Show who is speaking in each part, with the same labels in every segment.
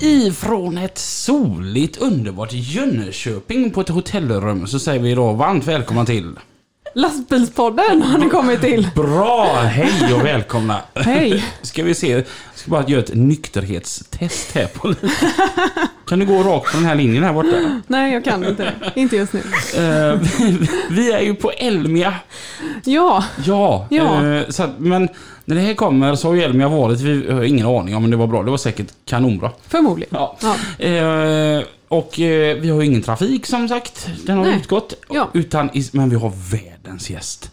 Speaker 1: Ifrån ett soligt underbart Jönköping på ett hotellrum så säger vi då varmt välkomna till
Speaker 2: Lastbilspodden har ni kommit till.
Speaker 1: Bra! Hej och välkomna!
Speaker 2: Hej.
Speaker 1: Ska vi se, jag ska bara göra ett nykterhetstest här på Kan du gå rakt på den här linjen här borta?
Speaker 2: Nej, jag kan inte det. Inte just nu.
Speaker 1: Eh, vi- vi är ju på Elmia.
Speaker 2: Ja,
Speaker 1: Ja,
Speaker 2: Ja.
Speaker 1: eh, så att, men när det här kommer så har ju Elmia varit, vi har ingen aning om men det var bra, det var säkert kanonbra.
Speaker 2: förmodligen.
Speaker 1: Ja.
Speaker 2: Ja.
Speaker 1: Eh, och eh, vi har ju ingen trafik som sagt. Den har
Speaker 2: Nej.
Speaker 1: utgått.
Speaker 2: Ja.
Speaker 1: Utan, is- men vi har världens gäst.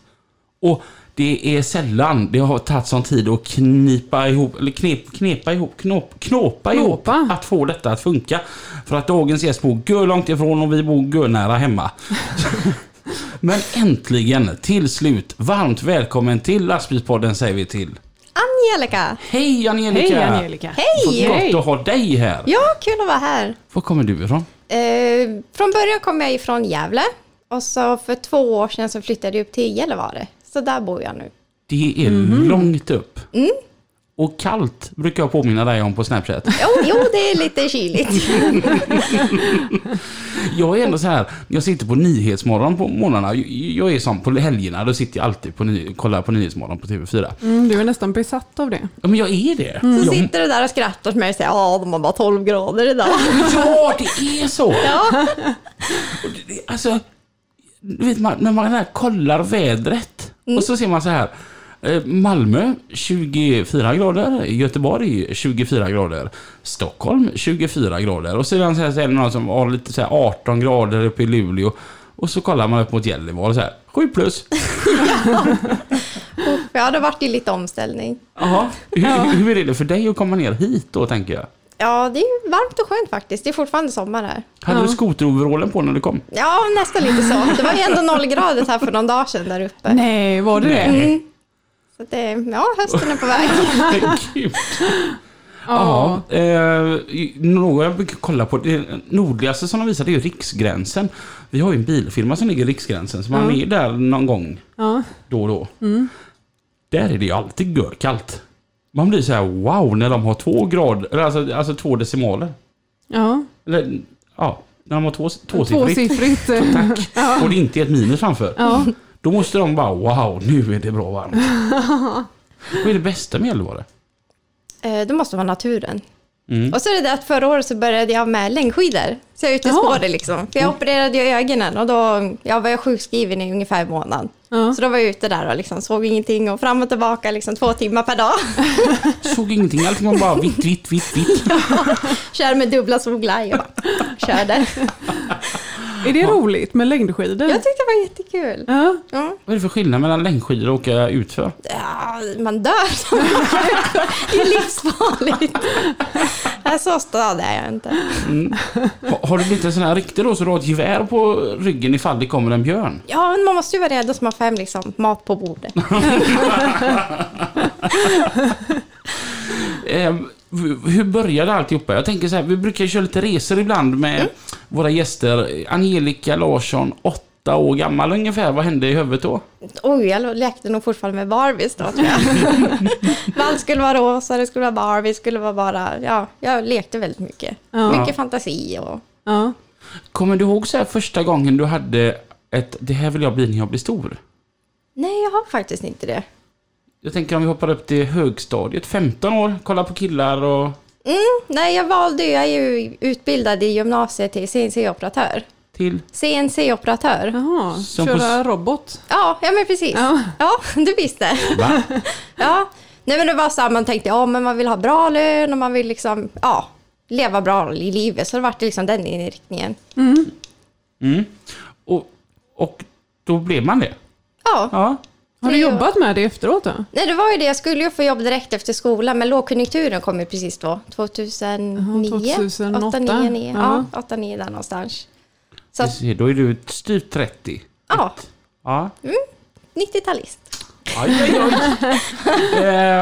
Speaker 1: Och det är sällan det har tagit sån tid att knipa ihop, eller knep, knepa ihop, knåp, knåpa ihop
Speaker 2: Knåpa.
Speaker 1: att få detta att funka. För att dagens gäst bor gör långt ifrån och vi bor gör nära hemma. Men äntligen, till slut, varmt välkommen till Lastbilspodden säger vi till.
Speaker 3: Angelica!
Speaker 1: Hej Angelica!
Speaker 2: Hej Angelica.
Speaker 3: Hej!
Speaker 1: Vad gott att ha dig här!
Speaker 3: Ja, kul att vara här.
Speaker 1: Var kommer du ifrån?
Speaker 3: Eh, från början kom jag ifrån Gävle och så för två år sedan så flyttade jag upp till Gällivare. Så där bor jag nu.
Speaker 1: Det är långt upp. Och kallt brukar jag påminna dig om på Snapchat.
Speaker 3: Jo, jo det är lite kyligt.
Speaker 1: Jag är ändå så här, jag sitter på Nyhetsmorgon på morgnarna. Jag- Jag är som på helgerna, då sitter jag alltid på ny, kollar på Nyhetsmorgon på TV4.
Speaker 2: Mm, du är nästan besatt av det.
Speaker 1: Ja men jag är det.
Speaker 3: Så
Speaker 1: Jag,
Speaker 3: sitter du där och skrattar åt mig och säger ja, de har bara 12 grader idag.
Speaker 1: ja det är så!
Speaker 3: Ja,
Speaker 1: Och det- det- Alltså, du vet man, när man där kollar vädret och så ser man så här. eh, Malmö 24 grader, Göteborg 24 grader, Stockholm 24 grader och sedan så här så är det någon som har lite så här 18 grader uppe i Luleå och så kollar man upp mot Gällivare så här 7 plus.
Speaker 3: för jag hade varit i lite omställning.
Speaker 1: Jaha. Hur, hur är det för dig att komma ner hit då tänker jag?
Speaker 3: Ja, det är ju varmt och skönt faktiskt. Det är fortfarande sommar här.
Speaker 1: Hade du skoteroverallen på när du kom?
Speaker 3: Ja, nästan lite så. Det var ju ändå nollgradigt här för någon dag sedan där uppe.
Speaker 2: Nej, var du det?
Speaker 1: Nej.
Speaker 3: Så det, ja, hösten är på väg.
Speaker 1: Gud.
Speaker 2: Ja.
Speaker 1: Ja, eh, något jag brukar kolla på, det nordligaste som de visar det är ju Riksgränsen. Vi har ju en bilfirma som ligger i Riksgränsen så man
Speaker 2: Ja.
Speaker 1: är där någon gång
Speaker 2: ja. Mm.
Speaker 1: då och då. Där är det ju alltid görkallt. Man blir så här wow när de har två grader, eller alltså, alltså två decimaler.
Speaker 2: ja.
Speaker 1: Eller ja, när de har två, tvåsiffrigt.
Speaker 2: Tvåsiffrigt. Eh,
Speaker 1: Tack. Och det inte är ett minus framför.
Speaker 2: Ja.
Speaker 1: Då måste de bara wow, nu är det bra varmt. Vad är det bästa med Gällivare?
Speaker 3: Eh, Det måste vara naturen.
Speaker 1: Mm.
Speaker 3: Och så är det det att förra året så började jag med längdskidor. Så jag är ute i
Speaker 2: Jaha. Mm.
Speaker 3: spåret liksom. För jag opererade ju ögonen och då jag var jag sjukskriven i ungefär en månad.
Speaker 2: Ja.
Speaker 3: Så då var jag ute där och liksom såg ingenting och fram och tillbaka liksom två timmar per dag.
Speaker 1: Såg ingenting, allting var bara vitt, vitt, vitt, vitt.
Speaker 3: Kör med dubbla solglajjor. Jag bara, Körde.
Speaker 2: Är det roligt med längdskidor?
Speaker 3: Jag tyckte det var jättekul.
Speaker 2: Ja.
Speaker 3: Ja.
Speaker 1: Vad är det för skillnad mellan längdskidor och åka utför?
Speaker 3: Ja, man dör som Det är livsfarligt. Nej, Så stad är jag inte.
Speaker 1: Mm. Ha, har du blivit en sån här riktig då så du har ett gevär på ryggen ifall det kommer en björn?
Speaker 3: Ja, men man måste ju vara redo så man får hem liksom, mat på bordet.
Speaker 1: Eh, v- hur började alltihopa? Jag tänker så här, vi brukar ju köra lite resor ibland med våra gäster. Angelica Larsson, åtta år gammal ungefär. Vad hände i huvudet då?
Speaker 3: Oj, jag lekte nog fortfarande med Barbies då tror jag. Allt skulle vara rosa, det skulle vara Barbie, det skulle vara bara... Ja, jag lekte väldigt mycket.
Speaker 2: Ja.
Speaker 3: Mycket fantasi och...
Speaker 2: Ja.
Speaker 1: Kommer du ihåg så här första gången du hade ett “det här vill jag bli när jag blir stor”?
Speaker 3: Nej, jag har faktiskt inte det.
Speaker 1: Jag tänker om vi hoppar upp till högstadiet, 15 år, kolla på killar och...
Speaker 3: Mm, nej, jag valde ju... Jag är ju utbildad i gymnasiet till CNC-operatör.
Speaker 1: Till?
Speaker 3: CNC-operatör.
Speaker 2: Jaha,
Speaker 1: Som på
Speaker 2: köra
Speaker 1: s-
Speaker 2: robot.
Speaker 3: Ja, ja men precis.
Speaker 2: Ja.
Speaker 3: Ja, du visste.
Speaker 1: Va?
Speaker 3: Ja. Nej, men det var så här, man tänkte ja, men man vill ha bra lön och man vill liksom... Ja, leva bra i livet. Så det vart liksom den inriktningen.
Speaker 1: Och, och då blev man det?
Speaker 3: Ja,
Speaker 1: Ja.
Speaker 2: Har du
Speaker 3: tre år.
Speaker 2: jobbat med det efteråt då?
Speaker 3: Nej, det var ju det. Jag skulle ju få jobb direkt efter skolan, men lågkonjunkturen kom ju precis då. 2009?
Speaker 2: Jaha, 2008.
Speaker 3: 8, 9, 9.
Speaker 2: Ja.
Speaker 3: Ja, 8, 9 där någonstans. Så
Speaker 1: Du
Speaker 3: att,
Speaker 1: ser, Då är du typ 30.
Speaker 3: ja,
Speaker 1: Ja.
Speaker 3: 90-talist.
Speaker 1: Aj, aj, aj.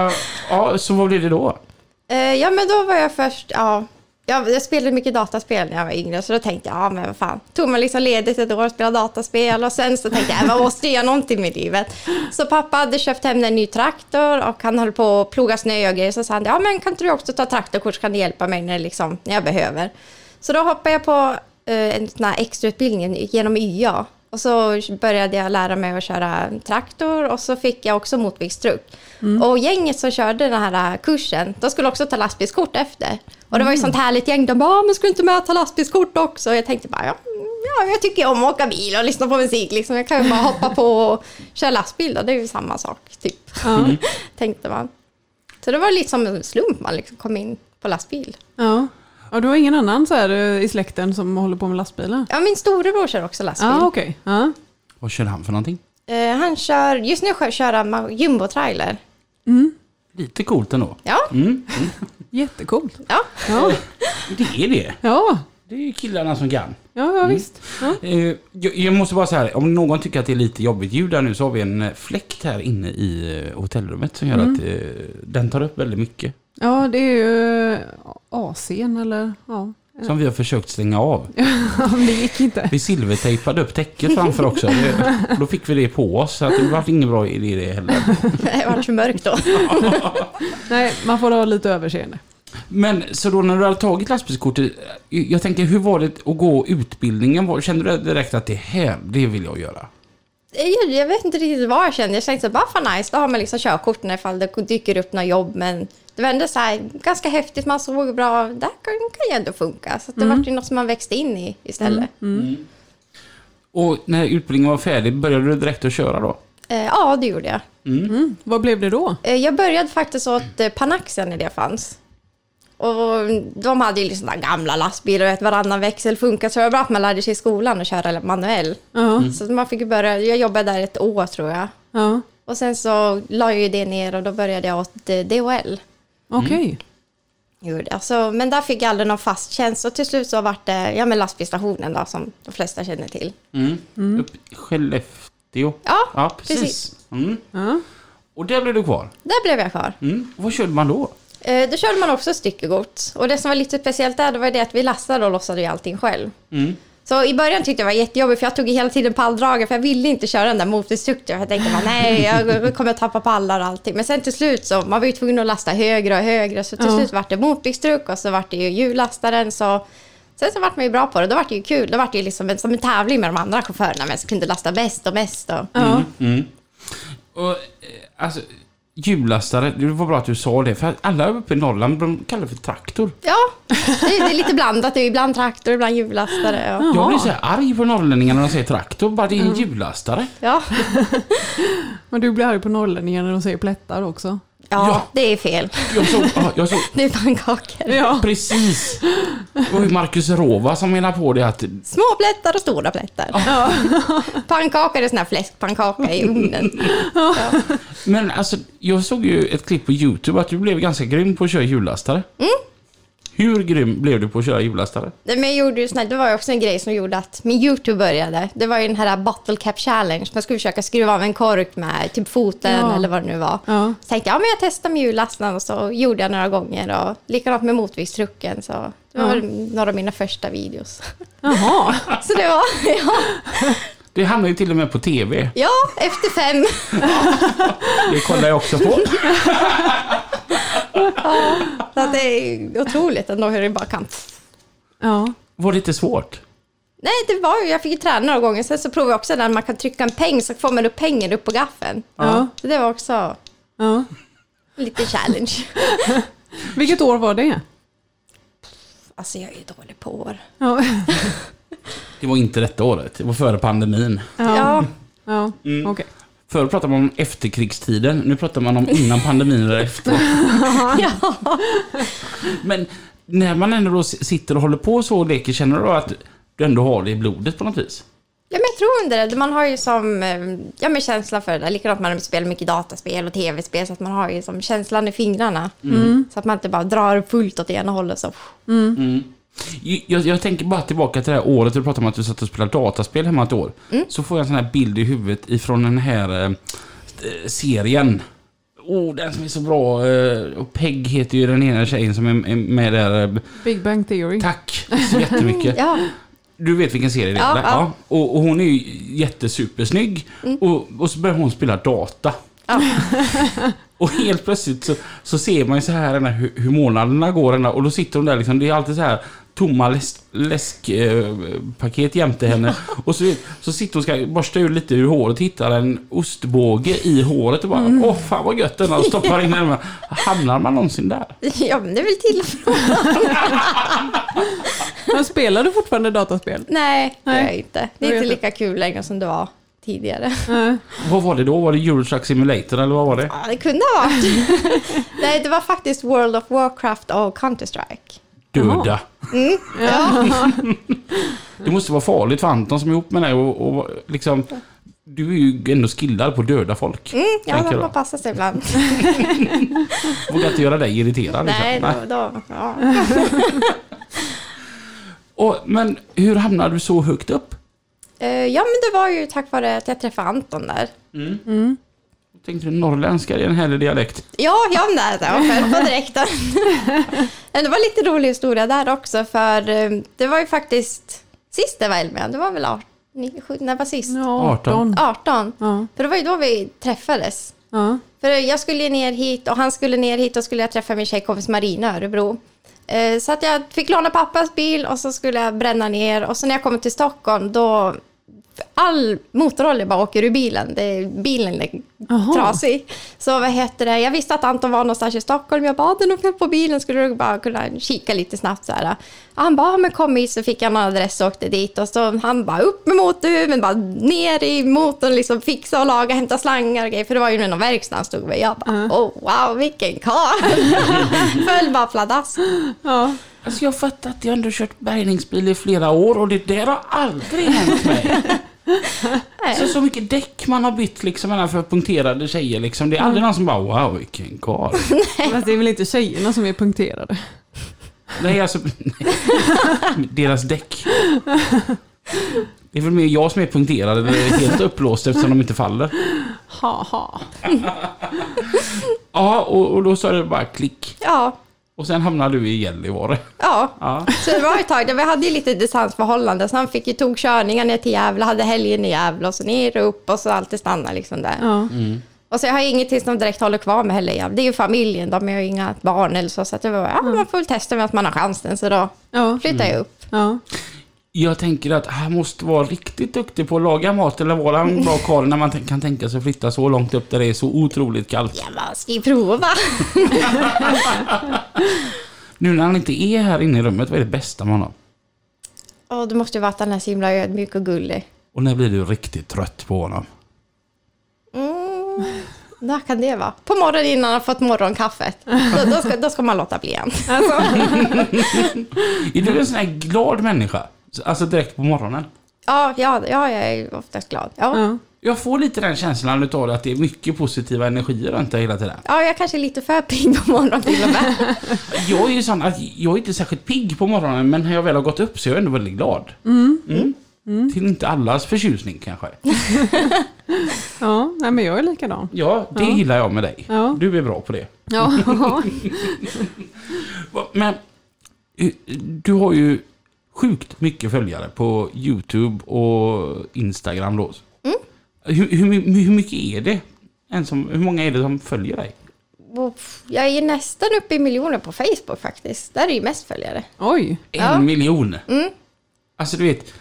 Speaker 1: eh, ja, så vad blir det då?
Speaker 3: Eh, ja, men då var jag först, ja. Jag, jag spelade mycket dataspel när jag var yngre, så då tänkte jag, ja men vad fan. Tog man liksom ledigt ett år och spelade dataspel och sen så tänkte jag, "Äh, man måste göra någonting med livet. Så pappa hade köpt hem en ny traktor och han höll på att ploga snö och grejer, så sa han, ja men kan inte du också ta traktorkort så kan du hjälpa mig när, liksom, när jag behöver. Så då hoppade jag på eh, en sån här extrautbildning genom YA. Och så började jag lära mig att köra traktor och så fick jag också motviktstruck.
Speaker 2: Mm.
Speaker 3: Och gänget som körde den här äh, kursen, de skulle också ta lastbilskort efter. Och
Speaker 2: Mm.
Speaker 3: det var ju sånt härligt gäng, de bara "Ah, “men skulle inte med och ta lastbilskort också?” Och jag tänkte bara ja, ja, jag tycker om att åka bil och lyssna på musik liksom. Jag kan ju bara hoppa på och köra lastbil då, det är ju samma sak typ.
Speaker 2: Ja.
Speaker 3: tänkte man. Så det var lite som en slump man liksom kom in på lastbil.
Speaker 2: ja. ja du har ingen annan så här, eh, i släkten som håller på med lastbilar?
Speaker 3: Ja, min storebror kör också lastbil.
Speaker 2: Ja, okej. Ja.
Speaker 1: Vad kör han för någonting?
Speaker 3: Eh, han kör, just nu kör- kör han ma- jumbo-trailer.
Speaker 1: Lite coolt ändå.
Speaker 3: Ja,
Speaker 2: Mm. Jättecoolt.
Speaker 3: ja.
Speaker 2: Ja.
Speaker 1: Det är det.
Speaker 2: Ja.
Speaker 1: Det är killarna som kan.
Speaker 2: Ja, ja visst. Ja.
Speaker 1: Eh, jag, jag måste bara säga här, om någon tycker att det är lite jobbigt ljud där nu så har vi en eh, fläkt här inne i eh, hotellrummet som gör att eh, den tar upp väldigt mycket.
Speaker 2: ja, det är ju eh, AC'n eller ja.
Speaker 1: Som vi har försökt stänga av.
Speaker 2: Ja, men det gick inte.
Speaker 1: Vi silvertejpade upp täcket framför också. Det- Då fick vi det på oss så att det var ingen bra idé det heller.
Speaker 3: det var så mörkt då.
Speaker 2: Nej, man får ha lite överseende.
Speaker 1: Men så då när du hade tagit lastbilskortet, eh, jag tänker hur var det att gå utbildningen? Var- Kände du direkt att det här, det vill jag göra?
Speaker 3: Jag, jag vet inte riktigt vad jag kände. Jag tänkte så här, bara fan nice, då har man liksom körkorten ifall det dyker upp några jobb. Men det var ändå så här, ganska häftigt, man såg hur bra, det här kan, kan ju ändå funka. Så att det var ju något som man växte in i istället.
Speaker 1: Och när utbildningen var färdig, började du direkt att köra då?
Speaker 3: Eh, ja, det gjorde jag.
Speaker 2: Mm. Vad blev det då?
Speaker 3: Eh, Jag började faktiskt åt eh, Panaxia när det fanns. Och de hade ju liksom där gamla lastbilar, vet, varannan växel funkar så det var bra att man lärde sig i skolan att köra manuell.
Speaker 2: Ja.
Speaker 3: Så att man fick ju börja, jag jobbade där ett år tror jag.
Speaker 2: ja.
Speaker 3: Och sen så la jag ju det ner och då började jag åt eh, DHL.
Speaker 2: Okej.
Speaker 3: Gjorde jag. Så, alltså, men där fick jag aldrig någon fast tjänst och till slut så vart det ja, men lastbilsstationen då, som de flesta känner till.
Speaker 1: Mm. Upp i Skellefteå.
Speaker 3: Ja,
Speaker 1: Ja, precis.
Speaker 3: precis.
Speaker 1: Mm.
Speaker 2: Ja.
Speaker 1: Och där blev du kvar.
Speaker 3: där blev jag kvar.
Speaker 1: Mm. Och Vad körde man då?
Speaker 3: Eh, Då körde man också styckegods. Och det som var lite speciellt där det var ju det att vi lastade och lossade ju allting själv. Så i början tyckte jag det var jättejobbigt för jag tog ju hela tiden palldragen för jag ville inte köra den där motorcykeln. Jag tänkte bara nej, jag kommer tappa pallar och allting. Men sen till slut så man var ju tvungen att lasta högre och högre så till
Speaker 2: Ja.
Speaker 3: slut vart det motviktstruck och så vart det ju hjullastaren. Så sen så vart man ju bra på det. Då vart det ju kul. Då vart det ju liksom en, som en tävling med de andra chaufförerna men som kunde lasta bäst och mest. Och,
Speaker 2: Ja.
Speaker 1: Och, eh, alltså, hjullastare, det var bra att du sa det, för att alla uppe i Norrland de kallar det för traktor.
Speaker 3: Ja, det, det är lite blandat. Det är ju ibland traktor, ibland hjullastare. Och,
Speaker 1: Jag blir så här arg på norrlänningarna när de säger traktor, bara det är en hjullastare.
Speaker 3: ja.
Speaker 2: Men du blir arg på norrlänningar när de säger plättar också.
Speaker 3: Ja,
Speaker 1: Ja.
Speaker 3: det är fel.
Speaker 1: Jag såg, ja, jag såg
Speaker 3: Det är pannkakor.
Speaker 2: Ja.
Speaker 1: precis, det var ju Marcus Rova som menade på det att
Speaker 3: Små plättar och stora plättar. Pannkakor är sån här fläskpannkaka i ugnen.
Speaker 1: Men alltså, jag såg ju ett klipp på YouTube att du blev ganska grym på att köra hjullastare. Hur grym blev du på att köra hjullastare?
Speaker 3: Nej, Men jag gjorde ju sån här, det var ju också en grej som gjorde att min YouTube började. Det var ju den här bottle cap challenge. Man skulle försöka skruva av en kork med typ foten
Speaker 2: Ja.
Speaker 3: eller vad det nu var.
Speaker 2: Ja.
Speaker 3: Så tänkte jag, ja men jag testar med hjullastaren och så gjorde jag några gånger. Och likadant med motviktstrucken. Så det
Speaker 2: Ja.
Speaker 3: var väl några av mina första videos.
Speaker 2: Jaha.
Speaker 3: Så det var, ja,
Speaker 1: Det hamnade ju till och med på TV.
Speaker 3: ja efter fem.
Speaker 1: Det kollar jag också på.
Speaker 3: Så att det är otroligt ändå hur det bara kan
Speaker 2: Ja.
Speaker 1: Var det inte svårt?
Speaker 3: Nej, det var ju, jag fick ju träna några gånger. Sen så provade jag också när man kan trycka en peng så får man upp pengen upp på gaffeln.
Speaker 2: Ja.
Speaker 3: Så det var också
Speaker 2: ja.
Speaker 3: lite challenge.
Speaker 2: Vilket år var det?
Speaker 3: Alltså jag är ju dålig på år.
Speaker 2: Ja.
Speaker 1: Det var inte detta året, det var före pandemin.
Speaker 2: Ja.
Speaker 3: Ja,
Speaker 2: ja. Okej.
Speaker 1: Förr pratade man om efterkrigstiden, nu pratar man om innan pandemin eller efter.
Speaker 3: ja.
Speaker 1: Men när man ändå då sitter och håller på så och leker, känner du då att du ändå har det i blodet på något vis?
Speaker 3: Ja, men jag tror inte det. Man har ju som eh, ja, men känsla för det där. Likadant man spelar mycket dataspel och tv-spel, så att man har ju som känslan i fingrarna.
Speaker 2: Mm.
Speaker 3: Så att man inte bara drar fullt åt ena hållet. Så.
Speaker 1: Jag, jag tänker bara tillbaka till det här året du pratade om att du satt och spelade dataspel hemma ett år. Så får jag en sån här bild i huvudet ifrån den här eh, eh, serien. Oh, den som är så bra. Eh, och Peg heter ju den ena tjejen som är, är med där. eh,
Speaker 2: Big Bang Theory.
Speaker 1: Tack så jättemycket.
Speaker 3: Ja.
Speaker 1: Du vet vilken serie det är?
Speaker 3: Ja,
Speaker 1: eller?
Speaker 3: ja.
Speaker 1: Och, och hon är ju jättesupersnygg. Och, och så börjar hon spela data.
Speaker 3: Ja.
Speaker 1: och helt plötsligt så, så ser man ju så här den här, hur, hur månaderna går. den här, Och då sitter hon där liksom. Det är alltid så här tomma läskpaket läsk, eh, paket jämte henne. Och så, så sitter hon och ska borsta ur lite ur håret. Hittar en ostbåge i håret och bara
Speaker 3: Mm.
Speaker 1: Åh fan vad gött den här", och stoppar in den. Hamnar man någonsin där?
Speaker 3: ja, men det är väl till och från.
Speaker 2: Men spelar du fortfarande dataspel?
Speaker 3: Nej, det
Speaker 2: Nej.
Speaker 3: är jag inte. Det
Speaker 2: Jag
Speaker 3: är
Speaker 2: vet
Speaker 3: inte lika kul längre som det var tidigare.
Speaker 2: Nej.
Speaker 1: Vad var det då? Var det Eurotruck Simulator eller vad var det?
Speaker 3: Ja, det kunde ha varit. Nej, det var faktiskt World of Warcraft och Counter-Strike.
Speaker 1: Döda.
Speaker 2: Jaha.
Speaker 1: Det måste vara farligt för Anton som är ihop med dig och, och liksom... Du är ju ändå skillad på att döda folk.
Speaker 3: Mm, ja,
Speaker 1: Tänker
Speaker 3: man
Speaker 1: du?
Speaker 3: får passa sig ibland.
Speaker 1: Vågar inte göra dig irriterad. liksom.
Speaker 3: Nej,
Speaker 1: Nej.
Speaker 3: då, då, ja.
Speaker 1: Och, men hur hamnade du så högt upp?
Speaker 3: Eh, ja, men det var ju tack vare att jag tänkte Anton där.
Speaker 1: Tänkte du norrländska i en härlig dialekt?
Speaker 3: Ja, ja men det där själv på direkten. Men det var lite rolig historia där också, för eh, det var ju faktiskt sist jag var Elmia, det var väl 18, 97, när var sist?
Speaker 2: 18.
Speaker 3: 18.
Speaker 2: Ja.
Speaker 3: För det var ju då vi träffades.
Speaker 2: Ja.
Speaker 3: För jag skulle ju ner hit och han skulle ner hit och skulle jag träffa min tjejkompis Marina i Örebro. Eh, Så att jag fick låna pappas bil och så skulle jag bränna ner och så när jag kommer till Stockholm då all motorolja bara åker ur bilen. Det, är- bilen är
Speaker 2: Jaha.
Speaker 3: trasig. Så vad heter det, jag visste att Anton var någonstans i Stockholm. Jag "Ah, bad honom fel på bilen, skulle du bara kunna kika lite snabbt så här. Han bara, "Ja, men kom hit, så fick jag en adress och åkte dit och så han bara upp med motorhuven, bara ner i motorn, liksom fixa och laga, hämta slangar och grejer. För det var ju någon verkstad han stod vid. Jag bara, oh wow, vilken karl! Föll bara pladask.
Speaker 2: Ja.
Speaker 1: Alltså jag fattar att jag ändå kört bärgningsbil i flera år och det där har aldrig hänt mig.
Speaker 3: Nej.
Speaker 1: Så, så mycket däck man har bytt liksom mellan för punkterade tjejer liksom. Det är
Speaker 3: Mm.
Speaker 1: aldrig någon som bara wow vilken karl.
Speaker 2: Fast det är väl inte tjejerna som är punkterade?
Speaker 1: Nej, alltså... deras däck. Det är väl mer jag som är punkterad eller helt uppblåst eftersom de inte faller.
Speaker 2: Ha, ha.
Speaker 1: Ja, och, och då sa det bara klick.
Speaker 3: Ja,
Speaker 1: Och sen hamnade du i Gällivare.
Speaker 3: ja.
Speaker 1: Ja.
Speaker 3: Så det var ett tag, där vi hade ju lite distansförhållande, så han fick ju tog körningar ner till Gävle, hade helgen i Gävle och så ner och upp och så alltid stanna liksom där.
Speaker 2: Ja.
Speaker 3: Och så Alltså, jag har ingenting som direkt håller kvar med heller. Det är ju familjen, de har ju inga barn eller så. Så att det var, ja, man får väl testa med att man har chansen. Så då
Speaker 2: Ja.
Speaker 3: flyttar jag upp.
Speaker 2: ja.
Speaker 1: Jag tänker att han måste vara riktigt duktig på att laga mat eller vara en bra karl när man tän- kan tänka sig att flytta så långt upp där det är så otroligt kallt.
Speaker 3: Ja, man ska ju prova.
Speaker 1: Nu när han inte är här inne i rummet, vad är det bästa med honom?
Speaker 3: Och det måste ju vara att han är så himla ödmjuk och gullig.
Speaker 1: Och när blir du riktigt trött på honom?
Speaker 3: Mm. När kan det vara? På morgonen innan han fått morgonkaffet. Då, då, ska, då ska man låta bli en.
Speaker 1: Är du en sån här glad människa? Alltså direkt på morgonen?
Speaker 3: Ja, ja, ja, jag är ju oftast glad. Ja.
Speaker 2: ja.
Speaker 1: Jag får lite den känslan utav det, att det är mycket positiva energier runt dig hela tiden.
Speaker 3: ja, jag kanske är lite för pigg på morgonen till och med.
Speaker 1: Jag är ju sån att jag är inte särskilt pigg på morgonen men när jag väl har gått upp så är jag ändå väldigt glad. Mm. Till inte allas förtjusning kanske.
Speaker 2: ja. Nej, men jag är likadan.
Speaker 1: Ja, det gillar jag med dig.
Speaker 2: Ja.
Speaker 1: Du är bra på det.
Speaker 2: Ja.
Speaker 1: Va- Men eh, du har ju sjukt mycket följare på Youtube och Instagram då. Hur, hur, my- hur mycket är det? En som, hur många är det som följer dig?
Speaker 3: Uff, Jag är ju nästan uppe i miljoner på Facebook faktiskt. Där är ju mest följare.
Speaker 2: Oj.
Speaker 1: En
Speaker 3: Ja.
Speaker 1: miljon? Alltså du vet,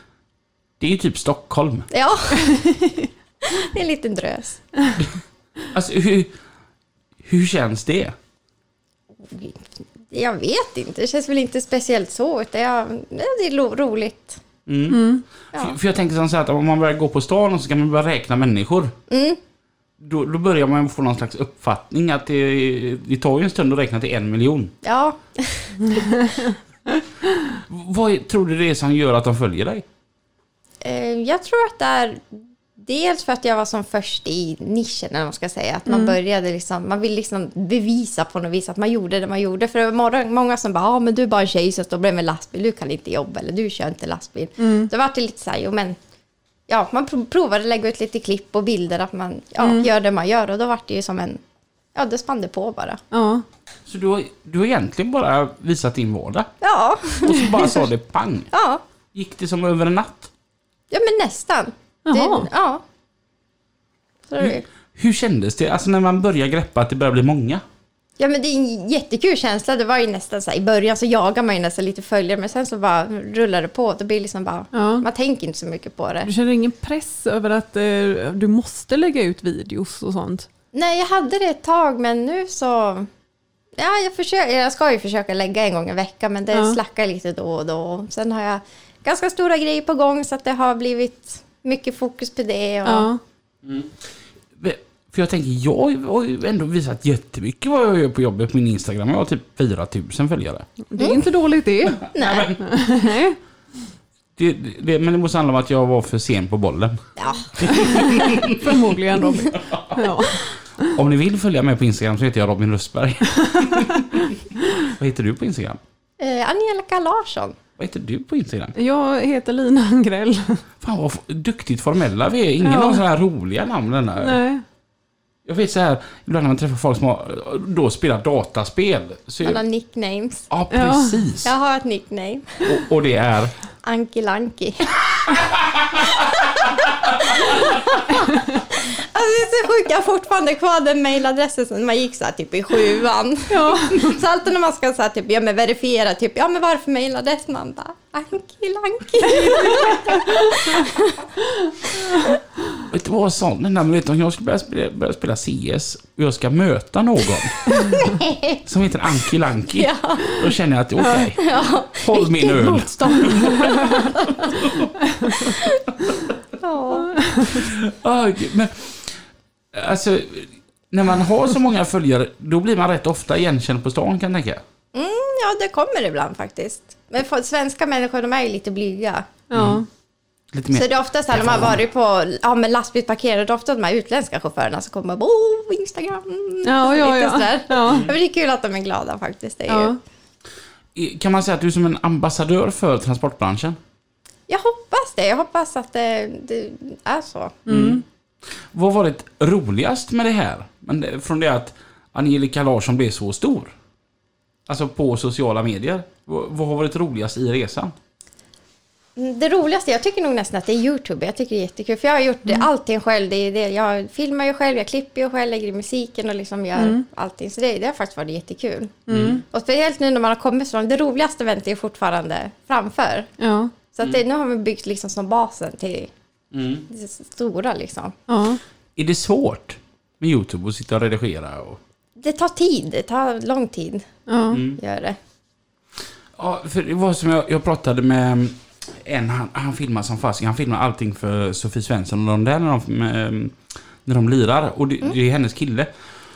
Speaker 1: det är ju typ Stockholm.
Speaker 3: Ja, det är en liten drös.
Speaker 1: Alltså hur, hur känns det?
Speaker 3: Jag vet inte, det känns väl inte speciellt så. Utan jag, nej, det är lo- roligt.
Speaker 1: För, för jag tänker som så här att om man börjar gå på stan och så ska man börja räkna människor. Då, då börjar man få någon slags uppfattning att det, det tar ju en stund att räkna till en miljon.
Speaker 3: Ja,
Speaker 1: Vad är- tror du det är som gör att de följer dig?
Speaker 3: Eh, jag tror att det är dels för att jag var som först i nischen, eller vad man ska säga. Att man började liksom, man vill liksom bevisa på något vis att man gjorde det man gjorde. För det var många- många som bara, ja ah, men du är bara en tjej som står bredvid lastbil, du kan inte jobba eller du kör inte lastbil. Då var det lite så här, jo men ja, man pro- provade lägga ut lite klipp och bilder att man ja, gör det man gör och då var det ju som en, ja det spann det på bara.
Speaker 2: Ja.
Speaker 1: Så du har, du har egentligen bara visat din vardag.
Speaker 3: Ja,
Speaker 1: Och så bara sa det pang.
Speaker 3: ja,
Speaker 1: Gick det som över en natt?
Speaker 3: ja men nästan.
Speaker 2: Jaha.
Speaker 3: Det, ja. Så är det.
Speaker 1: Mm.
Speaker 3: ju.
Speaker 1: Hur kändes det? Alltså när man börjar greppa att det börjar bli många?
Speaker 3: Ja men det är en jättekul känsla. Det var ju nästan så här, i början så jagar man ju nästan lite följare men sen så bara rullar det på. Det blir liksom bara,
Speaker 2: Ja.
Speaker 3: man tänker inte så mycket på det.
Speaker 2: Du känner ingen press över att eh, du måste lägga ut videos och sånt?
Speaker 3: Nej jag hade det ett tag men nu så, ja jag, försöker, jag ska ju försöka lägga en gång i veckan men det
Speaker 2: Ja.
Speaker 3: slackar lite då och då. Sen har jag ganska stora grejer på gång så att det har blivit mycket fokus på det. Och,
Speaker 2: Ja.
Speaker 1: För jag tänker, jag har ju ändå visat jättemycket vad jag gör på jobbet på min Instagram. Jag har typ 4000 följare.
Speaker 2: Det är inte dåligt det.
Speaker 3: Nej.
Speaker 2: Nej.
Speaker 1: Det, det, men det måste handla om att jag var för sen på bollen.
Speaker 3: Ja.
Speaker 2: Förmodligen Robin. Ja.
Speaker 1: Om ni vill följa mig på Instagram så heter jag Robin Rustberg. vad heter du på Instagram?
Speaker 3: Eh, Angelica Larsson.
Speaker 1: Vad heter du på Instagram?
Speaker 2: Jag heter Lina Angrell.
Speaker 1: Fan vad f- duktigt formella vi är. Ingen
Speaker 2: Ja.
Speaker 1: har sådana här roliga namn. Den här.
Speaker 2: Nej.
Speaker 1: Jag vet så här, ibland när man träffar folk som har, då spelar dataspel. Så
Speaker 3: Alla nicknames.
Speaker 1: ja, precis.
Speaker 3: Jag har ett nickname.
Speaker 1: Och, och det är...
Speaker 3: Anki Lanki. alltså det är så sjukt, jag har fortfarande kvar den mejladressen som man gick så här, typ i sjuan.
Speaker 2: Ja.
Speaker 3: Så alltid när man ska så här, typ, ja, men verifiera, typ, ja men varför mejladress? Man bara, Anki Lanki.
Speaker 1: Vet du vad sån den där, men vet du, om jag skulle börja spela, börja spela CS och jag ska möta någon som heter Anki Lanki.
Speaker 3: Ja.
Speaker 1: Då känner jag att okej,
Speaker 3: Ja.
Speaker 1: håll min
Speaker 3: Vilket
Speaker 1: öl.
Speaker 3: motstånd. ja.
Speaker 1: Ah, gud, men, alltså, när man har så många följare, då blir man rätt ofta igenkänd på stan kan jag tänka.
Speaker 3: Mm, ja, det kommer ibland faktiskt. Men för, svenska människor, de är ju lite blyga.
Speaker 2: Ja.
Speaker 1: Lite mer.
Speaker 3: Så det är ofta så här när man har varit på ja, men lastbilsparkerad, det är ofta de här utländska chaufförerna som kommer och bara oh, Instagram. Alltså,
Speaker 2: Ja, ja,
Speaker 3: Lite
Speaker 2: ja.
Speaker 3: sådär.
Speaker 2: Ja.
Speaker 3: Men det är kul att de är glada faktiskt. Det är
Speaker 2: Ja.
Speaker 3: ju.
Speaker 1: Kan man säga att du är som en ambassadör för transportbranschen?
Speaker 3: Jag hoppas det. Jag hoppas att det, det är så.
Speaker 2: Mm.
Speaker 1: Vad har varit roligast med det här? Men det, från det att Angelica Larsson blev så stor? Alltså på sociala medier. Vad, vad har varit roligast i resan?
Speaker 3: Det roligaste, jag tycker nog nästan att det är Youtube. Jag tycker det är jättekul. För jag har gjort det,
Speaker 2: Mm.
Speaker 3: allting själv. Det är det. Jag filmar ju själv, jag klipper ju själv, lägger i musiken och liksom gör
Speaker 2: Mm.
Speaker 3: allting. Så det, det har faktiskt varit jättekul. Och speciellt nu när man har kommit så långt. Det roligaste väntar ju fortfarande framför.
Speaker 2: Ja.
Speaker 3: Så att det, nu har vi byggt liksom som basen till det stora liksom.
Speaker 2: Ja.
Speaker 1: Är det svårt med Youtube att sitta och redigera? Och...
Speaker 3: Det tar tid, det tar lång tid.
Speaker 2: Ja.
Speaker 3: Gör det.
Speaker 1: Ja, för det var som jag, jag pratade med en, han, han filmar som fasken. Han filmar allting för Sofie Svensson och de där när de, eh, när de lirar. Och det, det är hennes kille.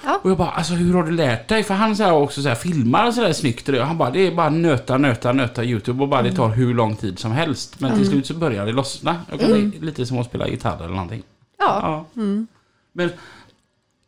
Speaker 3: Ja.
Speaker 1: Och jag bara, alltså hur har du lärt dig? För han så här också så här, filmar sådär snyggt och det. Och Han bara, det är bara nöta, nöta, nöta YouTube och bara det tar hur lång tid som helst. Men till slut så börjar det lossna. Jag kan, det är Lite som att spela gitarr eller någonting.
Speaker 3: Ja.
Speaker 1: Ja.
Speaker 3: Mm.
Speaker 1: Men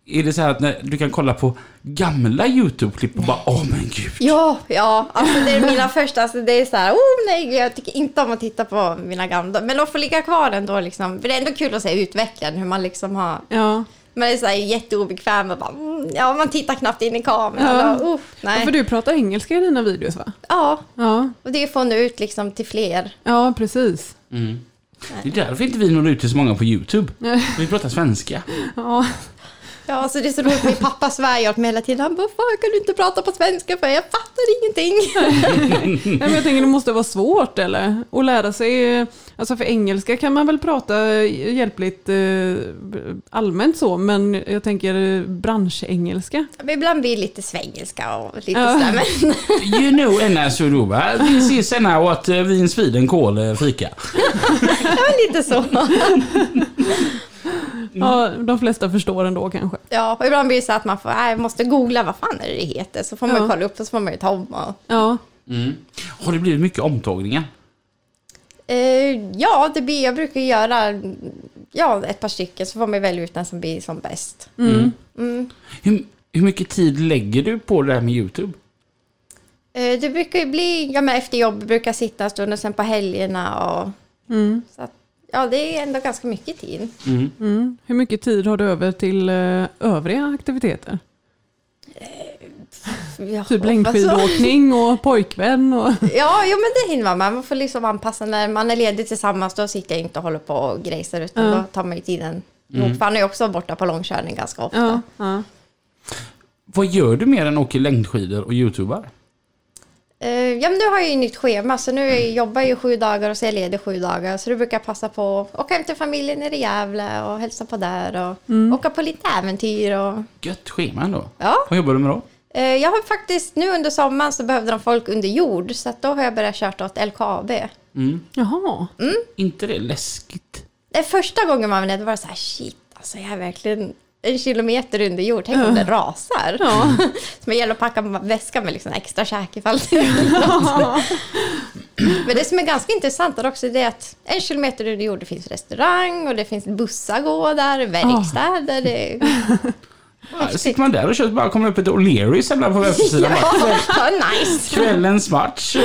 Speaker 1: är det så här att när du kan kolla på gamla YouTube-klipp och bara, åh men gud.
Speaker 3: Ja, ja, alltså det är mina första, alltså det är så här, oh nej, jag tycker inte om att titta på mina gamla, men de får ligga kvar ändå liksom, för det är ändå kul att se utvecklingen, hur man liksom har,
Speaker 2: Ja.
Speaker 3: man är så här jätteobekväm och bara, mm, ja man tittar knappt in i kameran,
Speaker 2: Ja.
Speaker 3: och, uh,
Speaker 2: Ja, För
Speaker 3: nej.
Speaker 2: du pratar engelska i dina videos va?
Speaker 3: Ja,
Speaker 2: Ja.
Speaker 3: och det får nu ut liksom till fler.
Speaker 2: Ja, precis.
Speaker 1: Det är därför inte vi når ut till så många på YouTube. Vi pratar svenska.
Speaker 2: Ja.
Speaker 3: Ja, så det är så roligt, min pappa svär ju åt mig hela tiden, han bara, fan kan du inte prata på svenska för jag fattar ingenting.
Speaker 2: Nej, men jag tänker det måste vara svårt eller? Att lära sig, alltså för engelska kan man väl prata hjälpligt eh, allmänt så, men jag tänker branschengelska.
Speaker 3: Men ibland blir det lite svengelska och lite
Speaker 2: Ja.
Speaker 3: sådär. Men,
Speaker 1: You know Enna Suruba. This is Enna what eh, vi in Sweden call eh, fika.
Speaker 3: ja, men lite så.
Speaker 2: Ja, de flesta förstår ändå kanske.
Speaker 3: Ja, och ibland blir det så att man får, nej, måste googla vad fan är det det heter. Så får man
Speaker 2: Ja.
Speaker 3: kolla upp och så får man ju ta om. Och,
Speaker 2: Ja.
Speaker 1: Har det blivit mycket omtagningar?
Speaker 3: Eh, ja, det blir, jag brukar göra ja, ett par stycken så får man välja ut den som blir som bäst.
Speaker 1: Hur, hur mycket tid lägger du på det här med YouTube?
Speaker 3: Eh, det brukar ju bli, ja men efter jobb brukar jag sitta en stund och sen på helgerna och så att, ja det är ändå ganska mycket tid.
Speaker 2: Mm. Hur mycket tid har du över till eh, övriga aktiviteter?
Speaker 3: Jag
Speaker 2: Typ
Speaker 3: hoppas-
Speaker 2: längdskidåkning och pojkvän och...
Speaker 3: Ja, jo, men det hinner man med. Man får liksom anpassa när man är ledig tillsammans. Då sitter jag inte och håller på och grejsar utan
Speaker 2: Ja.
Speaker 3: då tar man ju tiden nog. För han är ju också borta på långkörning ganska ofta.
Speaker 2: Ja, ja.
Speaker 1: Vad gör du mer än åker längdskidor och YouTubar?
Speaker 3: Eh, ja, men nu har jag ju nytt schema så nu jobbar jag ju sju dagar och så är jag ledig sju dagar. Så då brukar jag passa på att åka hem till familjen nere i Gävle och hälsa på där och
Speaker 2: Mm.
Speaker 3: åka på lite äventyr. Och,
Speaker 1: Gött schema ändå.
Speaker 3: ja.
Speaker 1: Vad jobbar du med då?
Speaker 3: Eh, jag har faktiskt nu under sommaren så behövde de folk under jord så att då har jag börjat köra åt LKAB.
Speaker 2: Jaha.
Speaker 1: Inte det läskigt?
Speaker 3: Det Eh, första gången man var nere då var det så här shit, alltså jag är verkligen en kilometer under jord, tänk om det rasar.
Speaker 2: Ja.
Speaker 3: Så det gäller att packa väskan med liksom extra käk ifall det Men det som är ganska intressant är också det att en kilometer under jord det finns restaurang och det finns bussar gå där, verkstäder. Det...
Speaker 1: Ja, sitter man där och kör bara kommer upp ett O'Learys ibland på vänstersidan.
Speaker 3: Ja,
Speaker 1: Bara,
Speaker 3: ja, nice!
Speaker 1: Kvällens match.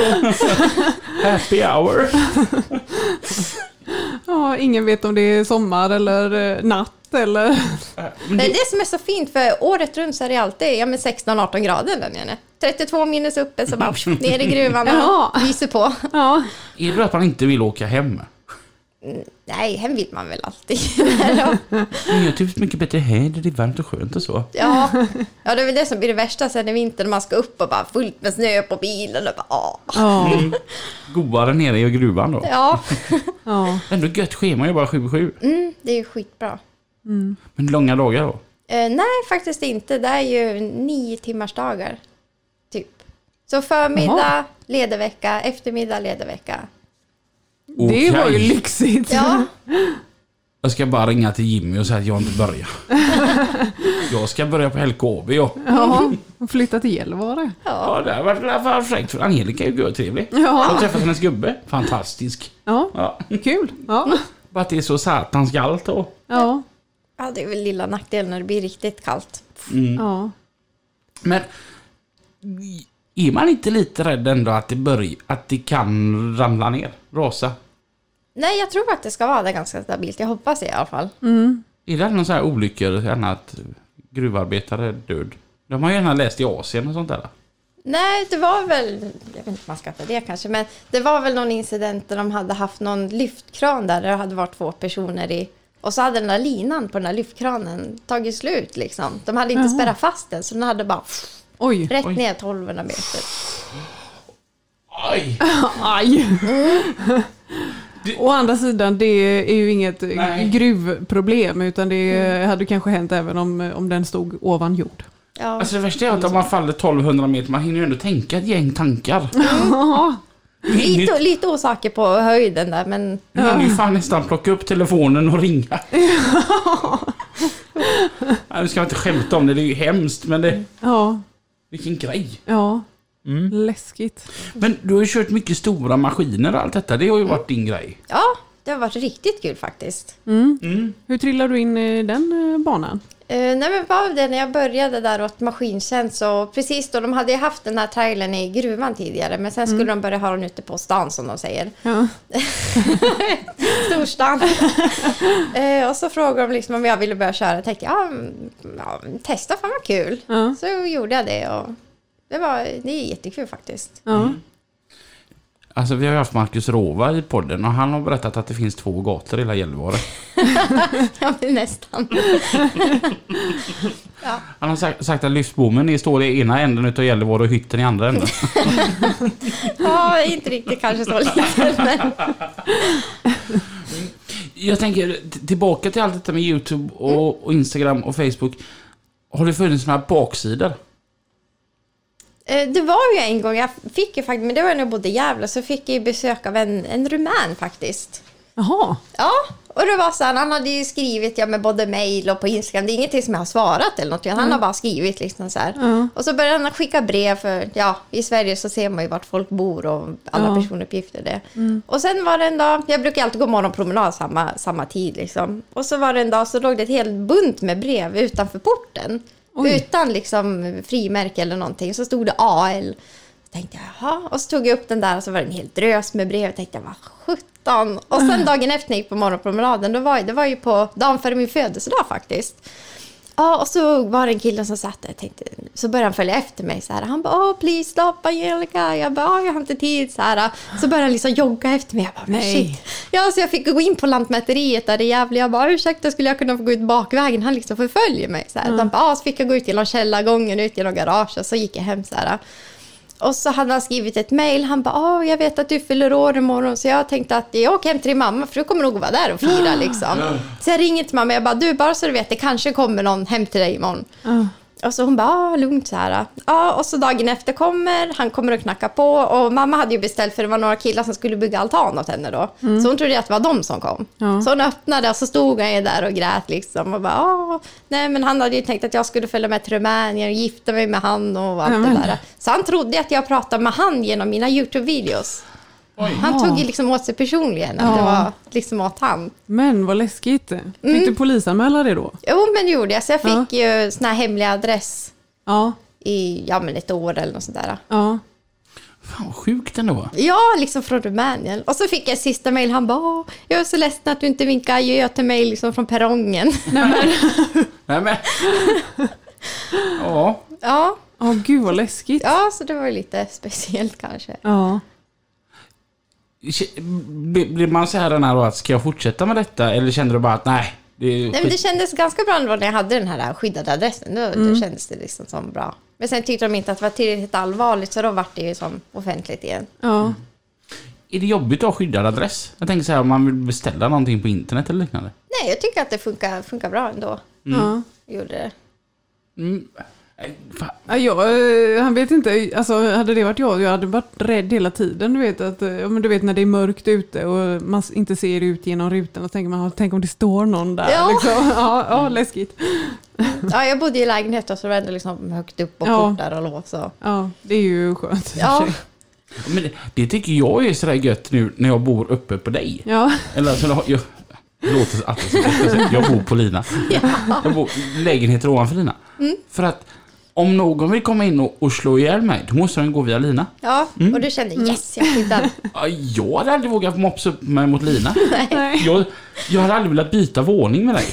Speaker 1: Happy hour.
Speaker 2: ja, ingen vet om det är sommar eller eh, natt eller...
Speaker 1: Men
Speaker 3: Det är
Speaker 1: det,
Speaker 3: det som är så fint för året runt så är det alltid ja, men 16-18 grader där nere. 32 minus uppe så bara psh, ner i gruvan
Speaker 2: Ja.
Speaker 3: och lyser på.
Speaker 2: Ja.
Speaker 1: är det att man inte vill åka hem?
Speaker 3: Nej, hem vill man väl alltid.
Speaker 1: Men Jag trivs mycket bättre här, det är varmt och skönt och så.
Speaker 3: Ja, ja det är väl det som blir det värsta sen i vinter när man ska upp och bara fullt med snö på bilen och bara ah.
Speaker 2: Ja.
Speaker 1: Godare nere i gruvan då.
Speaker 3: Ja,
Speaker 2: ja.
Speaker 1: Ändå gött schema, jobbar 7-7.
Speaker 3: mm, det är ju skitbra.
Speaker 1: Men långa dagar då?
Speaker 3: Eh, nej, faktiskt inte. Det är ju nio timmars dagar. Typ. Så förmiddag,
Speaker 2: Jaha.
Speaker 3: ledig vecka, eftermiddag, ledig vecka.
Speaker 2: Det var ju
Speaker 1: Okej.
Speaker 2: lyxigt.
Speaker 3: Ja,
Speaker 1: Jag ska bara ringa till Jimmy och säga att jag inte börjar. jag ska börja på LKAB ja.
Speaker 2: Ja. Och Flytta till Gällivare.
Speaker 1: Ja,
Speaker 3: ja.
Speaker 1: det har varit i alla fall fräckt för Angelica är ju trevlig. Jag har
Speaker 2: Ja.
Speaker 1: träffat hennes gubbe. Fantastisk.
Speaker 2: ja.
Speaker 1: Ja.
Speaker 2: Kul. Mm. Ja.
Speaker 1: Bara att det är så satans kallt då.
Speaker 2: Ja.
Speaker 3: ja, det är väl lilla nackdelen när det blir riktigt kallt.
Speaker 2: ja.
Speaker 1: Men är man inte lite rädd ändå att det, börj- att det kan ramla ner? Rasa?
Speaker 3: Nej, jag tror att det ska vara det ganska stabilt. Jag hoppas det i alla fall.
Speaker 1: Är det någon sån här olycka eller annat gruvarbetare död? De har ju gärna läst i Asien och sånt där.
Speaker 3: Nej, det var väl, jag vet inte om man ska ta det kanske, men det var väl någon incident där de hade haft någon lyftkran där det hade varit två personer i. Och så hade den där linan på den där lyftkranen tagit slut liksom. De hade inte
Speaker 2: Jaha.
Speaker 3: spärrat fast den, så den hade bara pff,
Speaker 2: Oj.
Speaker 3: rätt
Speaker 1: Oj.
Speaker 3: ner 1200 meter.
Speaker 1: Aj!
Speaker 2: Aj. Å andra sidan, det är ju inget
Speaker 1: Nej.
Speaker 2: gruvproblem utan det hade kanske hänt även om, om den stod ovan jord.
Speaker 3: Ja.
Speaker 1: Alltså det värsta är att om man faller 1200 meter, man hinner ju ändå tänka ett gäng tankar.
Speaker 3: lite, lite osäker på höjden där, men
Speaker 1: Nu kan ju fan nästan plocka upp telefonen och ringa. Nej, nu ska jag inte skämta om det, det är ju hemskt men det...
Speaker 2: Ja,
Speaker 1: Vilken grej!
Speaker 2: ja. läskigt.
Speaker 1: Men du har ju kört mycket stora maskiner och allt detta, det har ju varit din grej.
Speaker 3: ja, det har varit riktigt kul faktiskt.
Speaker 2: Hur trillar du in i den eh, banan?
Speaker 3: Eh, nej men vad det när jag började där åt maskintjänst så precis då, de hade ju haft den här trailern i gruvan tidigare men sen skulle
Speaker 2: Mm.
Speaker 3: de börja ha den ute på stan som de säger.
Speaker 2: Ja.
Speaker 3: Storstan. eh, och så frågade de liksom om jag ville börja köra. Jag tänkte ja, mm, ja men testa, fan vad kul.
Speaker 2: Ja.
Speaker 3: Så gjorde jag det och det, var, det är jättekul faktiskt.
Speaker 2: Ja.
Speaker 1: Alltså vi har ju haft Markus Rova i podden och han har berättat att det finns två gator i hela Gällivare.
Speaker 3: Ja, men nästan.
Speaker 1: Han har sagt, sagt att lyftbommen är- står i ena änden utav Gällivare och hytten i andra änden.
Speaker 3: Ja, inte riktigt kanske så lite. Men,
Speaker 1: Jag tänker t- tillbaka till allt detta med Youtube och, och Instagram och Facebook. Har det funnits några baksidor?
Speaker 3: eh, det var ju en gång, jag fick ju faktiskt, men det var när jag bodde i Gävle, så fick jag ju besök av en, en rumän faktiskt.
Speaker 2: Jaha,
Speaker 3: Ja, och det var så här, han hade ju skrivit ja, med både mail och på Instagram. Det är ingenting som jag har svarat eller något. Han har bara skrivit liksom så här.
Speaker 2: Mm. Ja.
Speaker 3: Och så började han skicka brev för, ja, i Sverige så ser man ju vart folk bor och alla
Speaker 2: Ja. Mm.
Speaker 3: personuppgifter det. Och sen var det en dag, jag brukar alltid gå morgonpromenad samma, samma tid liksom. Och så var det en dag så låg det ett helt bunt med brev utanför porten.
Speaker 2: Oj.
Speaker 3: Utan liksom frimärke eller någonting. Så stod det AL. Så tänkte jag, jaha. Och så tog jag upp den där och så var det en hel drös med brev. Jag tänkte, vad sjutton. Och sen dagen efter när jag gick på morgonpromenaden, då var, det var ju på dagen före min födelsedag faktiskt. Ja, och så var det en kille som satt där. Jag tänkte, så började han följa efter mig. Så här. Han bara, oh, please stop Angelica. Jag bara, oh, jag har inte tid. Så, här. så började han liksom jogga efter mig. Jag bara, men
Speaker 2: Nej.
Speaker 3: shit. Ja, så jag fick gå in på Lantmäteriet där i Gävle. Jag bara, ursäkta, skulle jag kunna få gå ut bakvägen? Han liksom förföljer mig. Så, här. De bara, ah, så fick jag gå ut genom källargången, ut genom garaget. Och så gick jag hem. Så här. Och så hade han skrivit ett mejl. Han bara, ah, jag vet att du fyller år imorgon. Så jag tänkte att jag åker hem till din mamma för du kommer nog vara där och fira. Liksom. Så jag ringer till mamma. Jag bara, du bara så du vet, det kanske kommer någon hem till dig imorgon.
Speaker 2: ja.
Speaker 3: Och så hon bara, ah, lugnt så här. Ja, och så dagen efter kommer, han kommer och knackar på och mamma hade ju beställt för det var några killar som skulle bygga altan åt henne då. Så hon trodde att det var de som kom.
Speaker 2: Mm. Ja.
Speaker 3: Så hon öppnade och så stod han ju där och grät liksom och bara, ah, nej men han hade ju tänkt att jag skulle följa med till Rumänien och gifta mig med han och allt
Speaker 2: Nämen.
Speaker 3: det där. Så han trodde att jag pratade med han genom mina YouTube-videos.
Speaker 1: Oj.
Speaker 3: Han tog ju liksom åt sig personligen att det
Speaker 2: Ja.
Speaker 3: var liksom åt han.
Speaker 2: men vad läskigt. Fick du polisanmäla det då?
Speaker 3: Jo men det gjorde jag, så jag fick ju sån här hemlig adress
Speaker 2: Ja,
Speaker 3: i ja, men ett år eller något sånt där.
Speaker 2: ja.
Speaker 1: Fan vad sjukt ändå.
Speaker 3: Ja, liksom från Rumänien. Och så fick jag sista mejl. Han bara, "Åh, jag är så ledsen att du inte vinkade adjö till mig liksom från perrongen.
Speaker 2: Nej, men,
Speaker 1: Nej men. ja.
Speaker 3: ja,
Speaker 2: ja gud vad läskigt.
Speaker 3: ja, så det var ju lite speciellt kanske.
Speaker 2: Ja.
Speaker 1: K- b- Blir man så här den här då att ska jag fortsätta med detta eller kände du bara att nej? Det är
Speaker 3: Nej, men det
Speaker 1: skit-
Speaker 3: kändes ganska bra ändå när jag hade den här eh, skyddade adressen. Då,
Speaker 2: Mm.
Speaker 3: då kändes det liksom som bra. Men sen tyckte de inte att det var tillräckligt allvarligt så då var det ju som offentligt igen.
Speaker 2: ja.
Speaker 1: Är det jobbigt att ha skyddad adress? Jag tänker så här om man vill beställa någonting på internet eller liknande.
Speaker 3: Nej, jag tycker att det funkar, funkar bra ändå.
Speaker 2: ja.
Speaker 3: Gjorde det.
Speaker 1: Mm. Äh, Fan.
Speaker 2: Ja, jag, eh, han vet inte, alltså, hade det varit jag, jag hade varit rädd hela tiden. Du vet, att, eh, ja, men du vet när det är mörkt ute och man s- inte ser ut genom rutan och tänker man, "Ja, tänk om det står någon där.
Speaker 3: Ja.
Speaker 2: Liksom. Ja, ja, läskigt.
Speaker 3: Ja, jag bodde i lägenhet och så var det ändå liksom högt upp och
Speaker 2: Ja.
Speaker 3: portar och lås. och-
Speaker 2: Ja, det är ju skönt.
Speaker 3: Ja,
Speaker 1: Men det, det tycker jag är sådär gött nu när jag bor uppe på dig.
Speaker 2: Ja,
Speaker 1: Eller alltså, jag- jag, det låter så alltid som jag ska säga. Jag bor på Lina. Jag bor i lägenheter ovanför Lina. För att om någon vill komma in och, och slå ihjäl mig, då måste den gå via Lina.
Speaker 3: ja. och du kände
Speaker 2: Mm.
Speaker 3: yes, jag är skyddad.
Speaker 1: Ja, Jag hade aldrig vågat mopsa upp mig mot Lina.
Speaker 2: nej.
Speaker 1: Jag, jag hade aldrig velat byta våning med dig.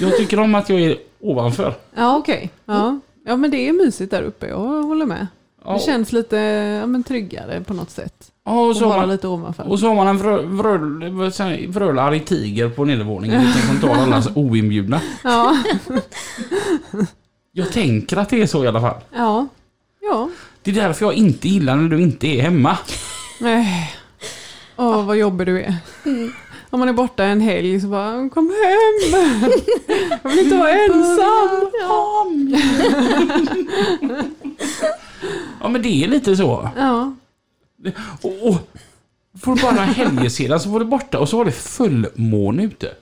Speaker 1: Jag tycker om att jag är ovanför.
Speaker 2: Ja, okej. Ja. ja, men det är mysigt där uppe, jag håller med.
Speaker 1: Ja,
Speaker 2: Det känns lite ja, men tryggare på något sätt.
Speaker 1: Ja, och,
Speaker 2: Och
Speaker 1: så har
Speaker 2: vara
Speaker 1: man,
Speaker 2: lite ovanför.
Speaker 1: och så har man en vrö, vrö, vad säger jag, vrölarg tiger på nedervåningen som tar allas oinbjudna.
Speaker 2: Ja,
Speaker 1: Jag tänker att det är så i alla fall.
Speaker 2: ja. ja.
Speaker 1: Det är därför jag inte gillar när du inte är hemma.
Speaker 2: Nej.
Speaker 3: Ah.
Speaker 2: Åh, vad jobbig du är.
Speaker 3: Mm.
Speaker 2: Om man är borta en helg så bara, kom hem! Jag vill inte vara ensam!
Speaker 1: Kom! ja men det är lite så.
Speaker 2: Ja,
Speaker 1: Och, och, för bara några helger sedan så var du borta och så var det fullmåne ute.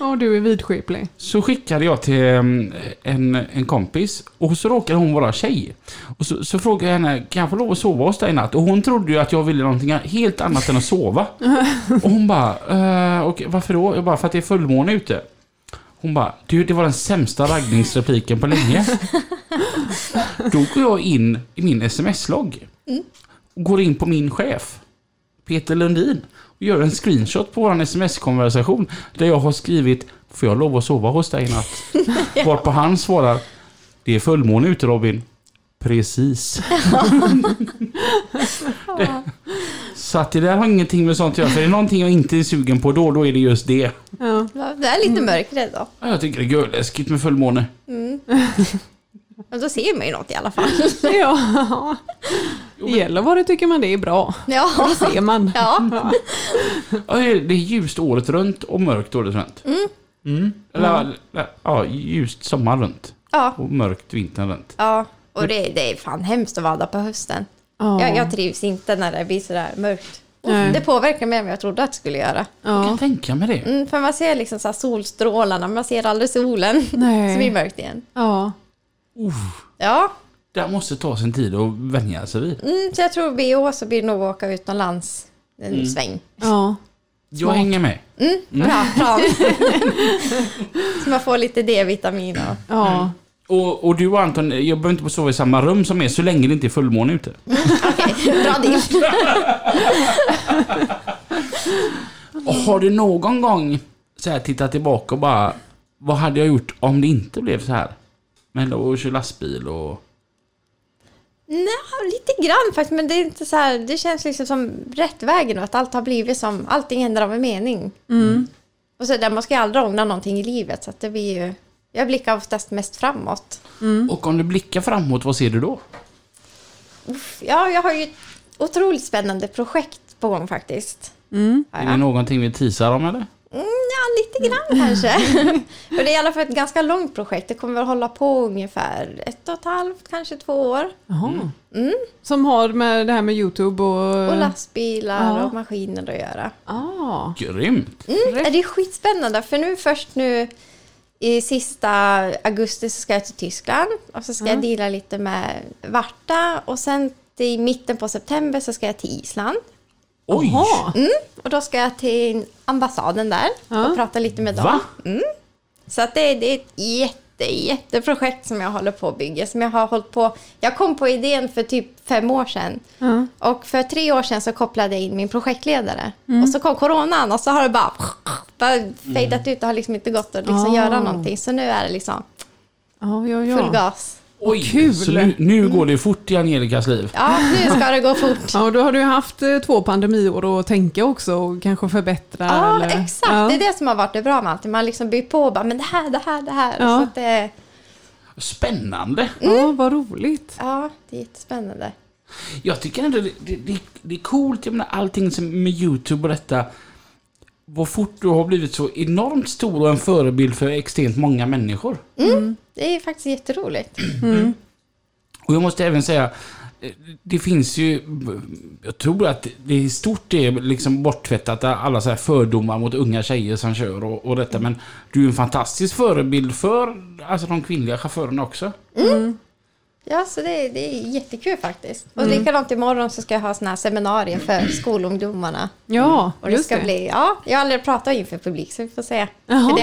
Speaker 2: och du är vidskeplig.
Speaker 1: Så skickade jag till em, en, en kompis och så råkade hon vara tjej. Och så, så frågade jag henne, kan jag få lov att sova hos dig i natt? Och hon trodde ju att jag ville någonting helt annat än att sova. Och hon bara, eh, okej varför då? Jag bara, för att det är fullmåne ute. Hon bara, du det var den sämsta raggningsrepliken på länge. Då går jag in i min sms-logg. Och går in på min chef, Peter Lundin. Och gör en screenshot på vår sms-konversation. Där jag har skrivit, får jag lov att sova hos dig i natt? Varpå han svarar, det är fullmåne ute Robin. Precis. Det- Så att det där har ingenting med sånt att göra. För är det någonting jag inte är sugen på då, då är det just det.
Speaker 2: Ja.
Speaker 3: Ja, Det är
Speaker 2: Mm.
Speaker 3: lite mörkrädd då.
Speaker 1: Ja, Jag tycker det är görläskigt med fullmåne.
Speaker 3: Mm. Men då ser man ju något i alla fall.
Speaker 2: ja. I Gällivare tycker man det är bra.
Speaker 3: Ja.
Speaker 2: Då ser man.
Speaker 3: Ja.
Speaker 1: Ja, Det är det är ljust året runt och mörkt året runt. Mm. Eller, ja, ljust sommar runt
Speaker 3: ja.
Speaker 1: och mörkt vintern runt.
Speaker 3: ja. Och det, det är fan hemskt att vara där på hösten.
Speaker 2: Ja.
Speaker 3: Jag, jag trivs inte när det blir sådär mörkt. Och
Speaker 2: Nej.
Speaker 3: Det påverkar mer än vad jag trodde att det skulle göra.
Speaker 1: Jag kan
Speaker 2: ja.
Speaker 1: tänka mig det.
Speaker 3: Mm, för man ser liksom så här solstrålarna, men man ser aldrig solen.
Speaker 2: Nej.
Speaker 3: Så blir det mörkt igen.
Speaker 2: ja.
Speaker 3: Ja,
Speaker 1: Det måste ta sin tid att vänja sig vid.
Speaker 3: mm, så jag tror BH så blir det nog att åka utomlands en sväng.
Speaker 2: ja.
Speaker 1: Jag hänger med.
Speaker 3: Bra, bra. så man får lite D-vitamin och...
Speaker 2: Ja,
Speaker 1: Och, och du och Anton, jag behöver inte sova i samma rum som er så länge det inte är fullmåne ute.
Speaker 3: Okej, bra deal.
Speaker 1: Och har du någon gång så här, tittat tillbaka och bara, vad hade jag gjort om det inte blev så här? Men då kör lastbil och...
Speaker 3: Nej, lite grann faktiskt, men det är inte så här, det känns liksom som rätt vägen och att allt har blivit som, allting händer av en mening. Och så där, man ska ju aldrig ångra någonting i livet så att det blir ju, jag blickar oftast mest framåt.
Speaker 1: Och om du blickar framåt, vad ser du då?
Speaker 3: Ja, jag har ju ett otroligt spännande projekt på gång faktiskt. Ja,
Speaker 1: Är
Speaker 3: ja.
Speaker 1: det någonting vi teasar om eller?
Speaker 3: Mm, ja, lite grann kanske. För det är i alla fall ett ganska långt projekt, det kommer väl hålla på ungefär ett och ett halvt, kanske två år.
Speaker 2: jaha. Som har med det här med Youtube och...
Speaker 3: Mm. Och lastbilar
Speaker 2: Ja.
Speaker 3: och maskiner att göra.
Speaker 2: ah.
Speaker 1: Grymt!
Speaker 3: Mm, det är skitspännande för nu först nu i sista augusti så ska jag till Tyskland och så ska jag dela lite med Varta och sen i mitten på september så ska jag till Island. Mm.
Speaker 1: Oj!
Speaker 2: Jaha.
Speaker 3: Och då ska jag till ambassaden där
Speaker 2: Ja.
Speaker 3: och prata lite med dem.
Speaker 1: Va?
Speaker 3: Så att det, det är ett jätte, jätteprojekt som jag håller på att bygga. Som jag, har hållit på. jag kom på idén för typ fem år sedan. Och för tre år sedan så kopplade jag in min projektledare.
Speaker 2: Mm.
Speaker 3: Och så kom coronan och så har det bara, bara fejdat ut. Det har liksom inte gått att liksom
Speaker 2: Ah.
Speaker 3: göra någonting. Så nu är det liksom
Speaker 2: Ja, ja,
Speaker 3: full
Speaker 2: ja.
Speaker 3: gas.
Speaker 1: Oj!
Speaker 2: kul.
Speaker 1: Så nu, nu går det fort i Angelicas liv.
Speaker 3: Ja, nu ska det gå fort.
Speaker 2: Ja, och då har du ju haft eh, två pandemiår att tänka också och kanske förbättra.
Speaker 3: Ja,
Speaker 2: eller-
Speaker 3: exakt.
Speaker 2: Ja.
Speaker 3: Det är det som har varit det bra med allt. Man liksom bygger på och bara, men det här, det här, det här.
Speaker 2: Ja.
Speaker 3: Så att det,
Speaker 1: Spännande!
Speaker 3: Mm.
Speaker 2: Ja, vad roligt.
Speaker 3: ja, det är jättespännande.
Speaker 1: Jag tycker ändå det, det, det, det är coolt, jag menar allting som med YouTube och detta. Vad fort du har blivit så enormt stor och en förebild för extremt många människor.
Speaker 3: Mm.
Speaker 2: Mm.
Speaker 3: Det är faktiskt jätteroligt.
Speaker 1: Och jag måste även säga, eh, det finns ju, jag tror att det i stort är liksom borttvättat alla så här fördomar mot unga tjejer som kör och, och detta. Men du är en fantastisk förebild för alltså, de kvinnliga chaufförerna också.
Speaker 3: Ja, så det, det är jättekul faktiskt. Och
Speaker 2: Mm.
Speaker 3: likadant imorgon så ska jag ha såna här seminarier för skolungdomarna.
Speaker 2: Ja,
Speaker 3: Mm. Och det
Speaker 2: Mm. just
Speaker 3: ska
Speaker 2: det.
Speaker 3: bli, ja, jag har aldrig pratat inför publik så vi får se
Speaker 2: Jaha.
Speaker 3: hur det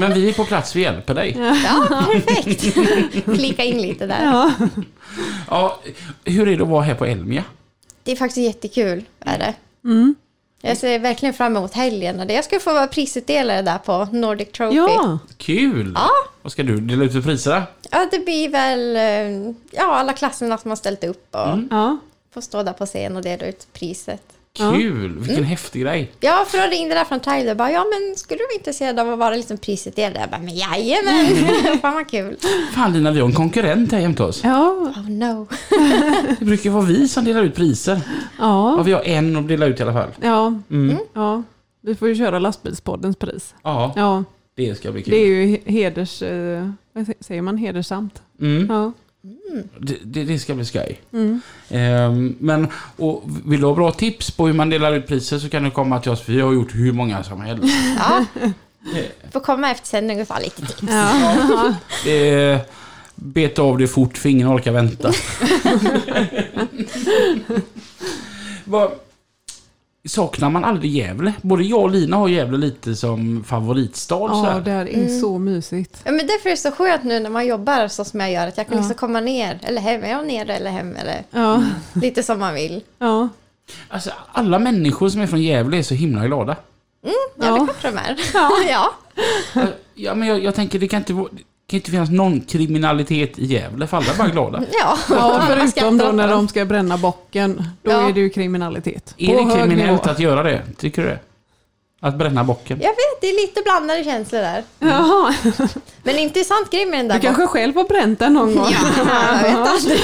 Speaker 1: Men vi är på plats, vi hjälper dig.
Speaker 3: Ja, perfekt! Klicka in lite där.
Speaker 2: Ja.
Speaker 1: Ja, hur är det att vara här på Elmia?
Speaker 3: Det är faktiskt jättekul, är det.
Speaker 2: Mm.
Speaker 3: Jag ser verkligen fram emot helgen. och det- Jag ska få vara prisutdelare där på Nordic Trophy.
Speaker 2: ja.
Speaker 1: Kul!
Speaker 3: Ja,
Speaker 1: Vad ska du dela ut för priser?
Speaker 3: ja, det blir väl eh, ja, alla klasserna som har ställt upp och
Speaker 2: ja.
Speaker 3: får stå där på scen och dela ut priset.
Speaker 2: Ja.
Speaker 1: Kul! Vilken häftig grej!
Speaker 3: Ja, för de ringde där från Tyler och bara, ja men skulle du vara intresserad av att vara liksom prisutdelare? Jag bara, men jajamän! Fan vad kul!
Speaker 1: Fan Lina, vi har en konkurrent här jämte oss.
Speaker 2: Ja,
Speaker 3: Oh no!
Speaker 1: Det brukar vara vi som delar ut priser. Ja,
Speaker 2: ja,
Speaker 1: vi har en att dela ut i alla fall.
Speaker 2: ja,
Speaker 1: Mm.
Speaker 3: Mm.
Speaker 2: ja. Vi får ju köra lastbilspoddens pris.
Speaker 1: Ja,
Speaker 2: Ja,
Speaker 1: det ska bli kul.
Speaker 2: det är ju he- heders... eh, Vad sä- säger man? Hedersamt.
Speaker 1: Mm.
Speaker 2: Ja.
Speaker 1: Det, det, det ska bli skoj.
Speaker 2: Mm.
Speaker 1: Ehm, men och vill du ha bra tips på hur man delar ut priser så kan du komma till oss. Vi har gjort hur många som helst.
Speaker 3: Ja,
Speaker 1: Eh,
Speaker 3: får komma efter sändning och ta lite tips.
Speaker 2: Ja.
Speaker 1: eh, beta av det fort för ingen orkar vänta. Vad- Saknar man aldrig Gävle? Både jag och Lina har Gävle lite som favoritstad. så
Speaker 2: ja,
Speaker 1: här.
Speaker 2: det här är
Speaker 3: Mm.
Speaker 2: så mysigt.
Speaker 3: Ja, men därför är det så skönt nu när man jobbar så som jag gör, att jag kan liksom komma ner, eller hem, är jag nere eller hem eller
Speaker 2: Ja,
Speaker 1: Mm.
Speaker 3: lite som man vill.
Speaker 2: ja,
Speaker 1: Alltså, alla människor som är från Gävle är så himla glada.
Speaker 3: Ja,
Speaker 2: Ja.
Speaker 3: det kanske de är. Ja, ja.
Speaker 1: Alltså, Ja, men jag, jag tänker, det kan inte, vara- det kan inte finnas någon kriminalitet i Gävle, för alla är bara glada.
Speaker 3: ja.
Speaker 2: ja
Speaker 3: Man
Speaker 2: förutom
Speaker 3: skrattar
Speaker 2: då
Speaker 3: åt
Speaker 2: när
Speaker 3: dem.
Speaker 2: de ska bränna bocken. Då
Speaker 3: Ja.
Speaker 2: är det ju kriminalitet.
Speaker 1: Är det
Speaker 2: hög
Speaker 1: kriminellt
Speaker 2: nivå.
Speaker 1: att göra det? Tycker du det? Att bränna bocken?
Speaker 3: Jag vet, det är lite blandade känslor där.
Speaker 2: Jaha,
Speaker 3: Men en intressant grej med den där
Speaker 2: du kanske själv har bränt den någon gång?
Speaker 3: Ja, jag vet aldrig.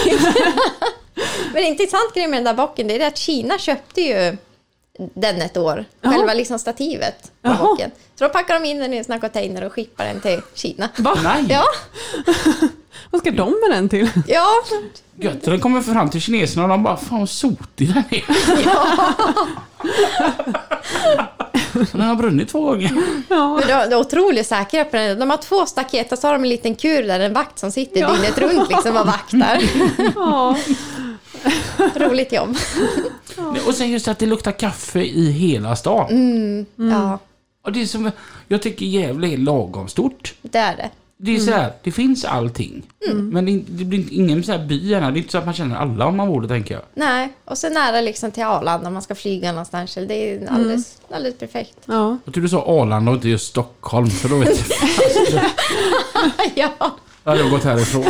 Speaker 3: Men en intressant grej med den där bocken det är det att Kina köpte ju den ett år.
Speaker 2: Jaha.
Speaker 3: Själva liksom stativet på
Speaker 2: Jaha.
Speaker 3: bocken. Så då packar de in den i en sån här container och skippar den till Kina.
Speaker 2: Va?
Speaker 1: Nej!
Speaker 3: Ja,
Speaker 2: Vad ska de med den till?
Speaker 3: Ja,
Speaker 1: Gött, den kommer fram till kineserna och de bara Fan vad sotig den är. den har brunnit två gånger.
Speaker 2: Ja.
Speaker 3: men de, de är otroligt säkra på den. De har två staket och så har de en liten kur där en vakt som sitter
Speaker 2: Ja.
Speaker 3: dygnet runt liksom och vaktar.
Speaker 2: ja.
Speaker 3: Roligt jobb.
Speaker 1: Och sen just att det luktar kaffe i hela stan.
Speaker 2: Mm.
Speaker 3: Ja,
Speaker 1: Och det är som, jag tycker Gävle är lagom stort.
Speaker 3: det är det.
Speaker 1: Det är så här, det finns allting. Men det, det blir inte- ingen så här by gärna. Det är inte så att man känner alla om man bor där tänker jag.
Speaker 3: Nej, och så nära liksom till Arlanda om man ska flyga någonstans. Det är ju alldeles, alldeles perfekt.
Speaker 2: ja.
Speaker 1: Jag tror du sa Arlanda och inte just Stockholm för då vet jag.
Speaker 3: ja.
Speaker 1: Då hade jag gått härifrån.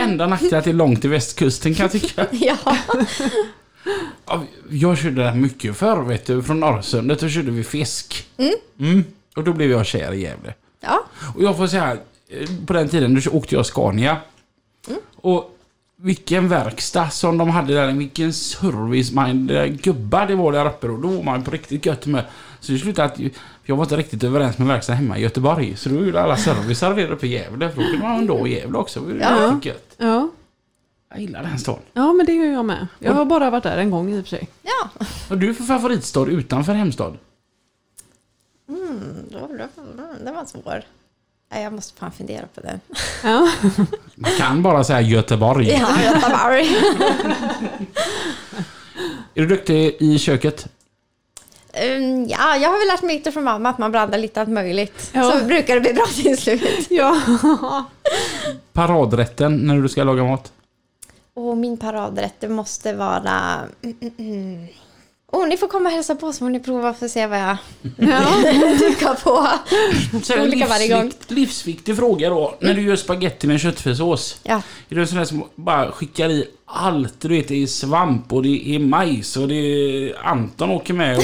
Speaker 1: Enda nackdelen att det är långt till västkusten kan jag tycka.
Speaker 3: ja.
Speaker 1: Ja, Jag körde där mycket förr vet du. Från Norrsundet då körde vi fisk. Mm. Och då blev jag kär i Gävle.
Speaker 3: ja.
Speaker 1: Och jag får säga, eh, på den tiden då åkte jag Scania.
Speaker 3: Mm.
Speaker 1: Och vilken verkstad som de hade där, vilken service man, eh, gubbar det var där uppe och då var man på riktigt gött med. Så det slutade att jag var inte riktigt överens med verkstaden hemma i Göteborg. Så då gjorde alla servicer där uppe i Gävle, för då kunde man ha en dag i Gävle också. Det var ju
Speaker 3: Ja.
Speaker 1: riktigt gött.
Speaker 2: Ja.
Speaker 1: Jag gillar den stan.
Speaker 2: ja, men det gör jag med. Jag har bara varit där en gång i och för sig.
Speaker 3: ja.
Speaker 1: Vad har du för favoritstad utanför hemstad?
Speaker 3: Då- då- mm, Den var svår. Nej, jag måste fan fundera på den.
Speaker 2: Ja.
Speaker 1: Man kan bara säga Göteborg.
Speaker 3: Ja, Göteborg.
Speaker 1: Är du duktig i köket?
Speaker 3: Mm, ja, jag har väl lärt mig lite från mamma att man blandar lite allt möjligt.
Speaker 2: Ja.
Speaker 3: Så brukar det bli bra till slut.
Speaker 2: ja.
Speaker 1: Paradrätten när du ska laga mat?
Speaker 3: Och min paradrätt, det måste vara... Mm, mm, mm. Oh, ni får komma och hälsa på så får ni prova för att se vad jag
Speaker 2: ja.
Speaker 3: dukar på.
Speaker 1: Så här, en
Speaker 3: Olika varje gång.
Speaker 1: livsvikt- livsviktig fråga då. När du gör spaghetti med köttfärssås.
Speaker 3: Ja.
Speaker 1: Är du en sån där som bara skickar i allt? Du vet, det är svamp och det är majs och det är Anton åker med och...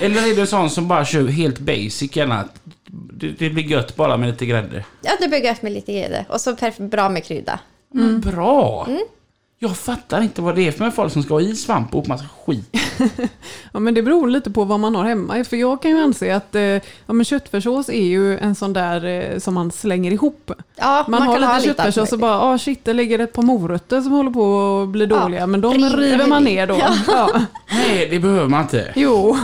Speaker 1: Eller är du en sån som bara kör helt basic gärna? Det, det blir gött bara med lite grädde.
Speaker 3: ja, det bygger jag upp med lite grädde. Och så perf- bra med krydda. Mm.
Speaker 1: Men Bra! Jag fattar inte vad det är för folk som ska ha i svamp och massa skit.
Speaker 2: ja, men det beror lite på vad man har hemma. För jag kan
Speaker 3: Mm.
Speaker 2: ju anse att eh, ja, men köttfärssås är ju en sån där eh, som man slänger ihop.
Speaker 3: Ja,
Speaker 2: Man, har
Speaker 3: kan ha
Speaker 2: lite
Speaker 3: lite allt
Speaker 2: köttfärs och så
Speaker 3: möjligt.
Speaker 2: bara, ah shit, det ligger ett par morötter som håller på att bli
Speaker 3: Ja,
Speaker 2: dåliga, men de
Speaker 3: river
Speaker 2: river man
Speaker 3: vi.
Speaker 2: ner då.
Speaker 3: Ja.
Speaker 2: Ja.
Speaker 1: Nej, det behöver man inte.
Speaker 2: Jo.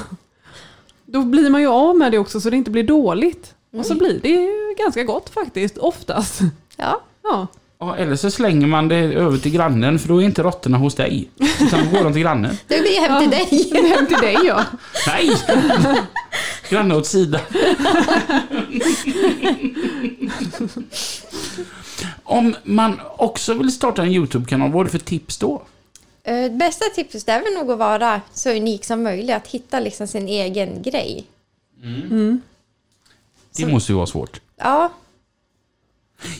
Speaker 2: Då blir man ju av med det också så det inte blir dåligt. Och så blir det ju ganska gott faktiskt, oftast.
Speaker 3: Ja.
Speaker 2: Ja,
Speaker 1: Ja, eller så slänger man det över till grannen för då är inte råttorna hos dig. Utan då går de till grannen.
Speaker 3: Du blir hem till dig.
Speaker 2: hem till dig ja.
Speaker 1: Nej! Granne åt sidan. Om man också vill starta en YouTube-kanal, vad är det för tips då?
Speaker 3: Eh, Bästa tipset är väl nog att vara så unik som möjligt. Att hitta liksom sin egen grej.
Speaker 1: Det måste ju vara svårt.
Speaker 3: Ja,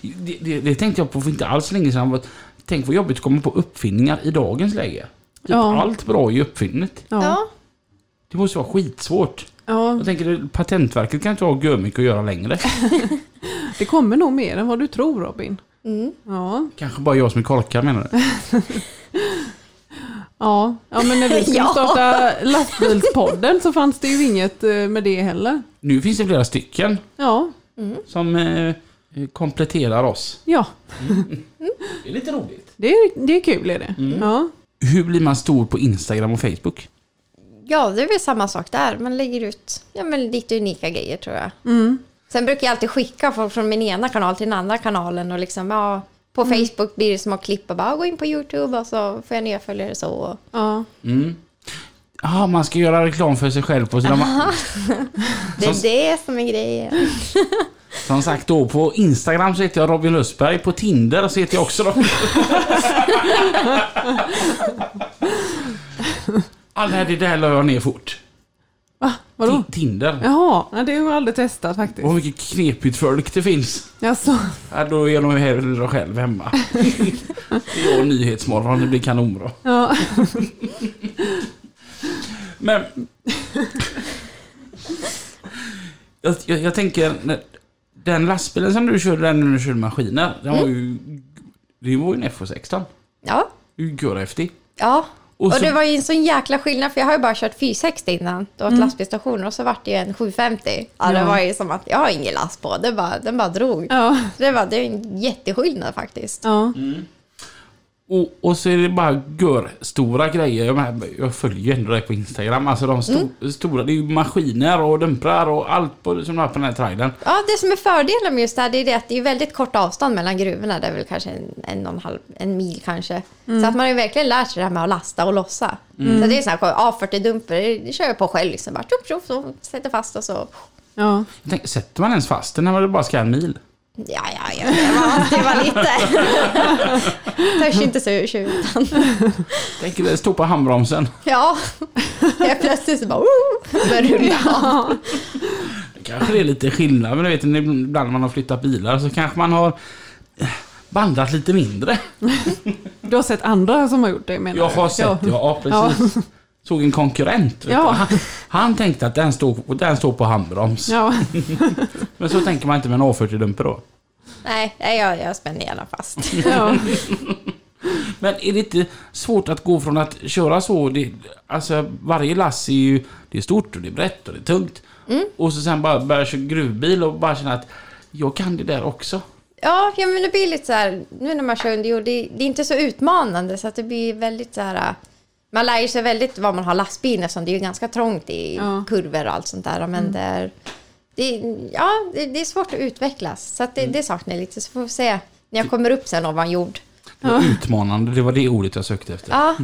Speaker 1: Det, det, det tänkte jag på för inte alls länge sedan. Vad- Tänk vad jobbigt att komma på uppfinningar i dagens läge. Typ
Speaker 2: Ja.
Speaker 1: allt bra är uppfinnet.
Speaker 2: Ja.
Speaker 3: ja.
Speaker 1: Det måste vara skitsvårt.
Speaker 2: ja,
Speaker 1: Jag tänker, Patentverket kan inte ha gömmick att göra längre.
Speaker 2: det kommer nog mer än vad du tror Robin.
Speaker 3: Mm.
Speaker 2: Ja,
Speaker 1: Kanske bara jag som är korkad menar du?
Speaker 2: ja. ja men när vi skulle
Speaker 3: Ja.
Speaker 2: starta lastbilspodden så fanns det ju inget eh, med det heller.
Speaker 1: Nu finns det flera stycken
Speaker 2: Ja,
Speaker 1: som eh, kompletterar oss.
Speaker 2: ja.
Speaker 1: Det är lite roligt.
Speaker 2: Det, är, det är kul är det. Ja.
Speaker 1: Hur blir man stor på Instagram och Facebook?
Speaker 3: ja, det är väl samma sak där. Man lägger ut ja, men lite unika grejer tror jag. Sen brukar jag alltid skicka folk från min ena kanal till den andra kanalen. Och liksom, ja, på Facebook blir det som att klippa. Bara gå in på YouTube och så får jag nya följare så. och-
Speaker 2: Ja.
Speaker 1: Ah, man ska göra reklam för sig själv på sina ma-
Speaker 3: Det är
Speaker 1: Som-
Speaker 3: det som är grejen.
Speaker 1: Som sagt då, på Instagram så heter jag Robin Lösberg, på Tinder så heter jag också Robin ah, nej, det där la jag ner fort.
Speaker 2: Va? Vadå?
Speaker 1: Ti- Tinder.
Speaker 2: Jaha, nej, det har jag aldrig testat faktiskt.
Speaker 1: Vad mycket knepigt folk det finns.
Speaker 2: Alltså,
Speaker 1: Ja, då är de hellre själv hemma. det är jag och Nyhetsmorgon, det blir kanonbra.
Speaker 2: ja.
Speaker 1: Men... jag, jag, jag tänker, när- den lastbilen som du körde, den du körde
Speaker 3: Mm.
Speaker 1: maskiner, den var ju... Det var ju en FH16.
Speaker 3: Ja,
Speaker 1: Det är ju görhäftig.
Speaker 3: ja,
Speaker 1: Och
Speaker 3: Och
Speaker 1: så,
Speaker 3: det var ju en sån jäkla skillnad för jag har ju bara kört 460 innan. Då åt lastbilsstationer och så vart det ju en 750. Ja, det
Speaker 2: Ja.
Speaker 3: var ju som att jag har ingen last på. Det bara, den bara drog.
Speaker 2: Ja.
Speaker 3: Det var det är en jätteskillnad faktiskt.
Speaker 2: Ja.
Speaker 1: och, och så är det bara gör stora grejer. Jag, menar, jag följer ju ändå det på Instagram. Alltså de sto,
Speaker 3: Mm.
Speaker 1: stora, det är ju maskiner och dumprar och allt på, som de har på den här trailern.
Speaker 3: Ja, det som är fördelen med just det här det är det att det är väldigt kort avstånd mellan gruvorna. Det är väl kanske en, en, och en, halv, en mil kanske. Så att man har ju verkligen lärt sig det här med att lasta och lossa. Så det är så här A40-dumper, det kör jag på själv liksom. Bara tjoff, tjoff, så sätter fast och så.
Speaker 2: Ja.
Speaker 1: Jag tänker, sätter man ens fast den när det bara ska en mil?
Speaker 3: Ja, ja, ja, det var, det var lite. Törs inte se ur utan.
Speaker 1: Tänker det står på handbromsen.
Speaker 3: Ja, helt plötsligt så bara oh, börjar rulla.
Speaker 1: Det kanske det är lite skillnad, men du vet ibland när man har flyttat bilar så kanske man har eh, bandat lite mindre.
Speaker 2: Du har sett andra som har gjort det menar
Speaker 1: Jag
Speaker 2: du?
Speaker 1: har sett, ja, ja precis. Såg en konkurrent. vet
Speaker 2: Ja.
Speaker 1: du. Han, han tänkte att den stod, den stod på handbroms.
Speaker 2: Ja.
Speaker 1: Men så tänker man inte med en A40-dumper då.
Speaker 3: Nej, nej, jag, jag spänner gärna fast.
Speaker 2: Ja.
Speaker 1: Men är det inte svårt att gå från att köra så, det, alltså varje lass är ju, det är stort och det är brett och det är tungt. Och så sen bara börja köra gruvbil och bara känna att jag kan det där också.
Speaker 3: Ja, ja, men det blir lite så här, nu när man kör under jord, det, det är inte så utmanande så att det blir väldigt så här, man lär ju sig väldigt vad man har lastbilen eftersom det är ju ganska trångt i
Speaker 2: Ja.
Speaker 3: kurvor och allt sånt där. Men det, är, det, är- ja, det, det är svårt att utvecklas så att det, det saknar jag lite. Så får vi se när jag kommer upp sen ovan jord.
Speaker 1: Det var utmanande, det var det ordet jag sökte efter.
Speaker 3: Ja,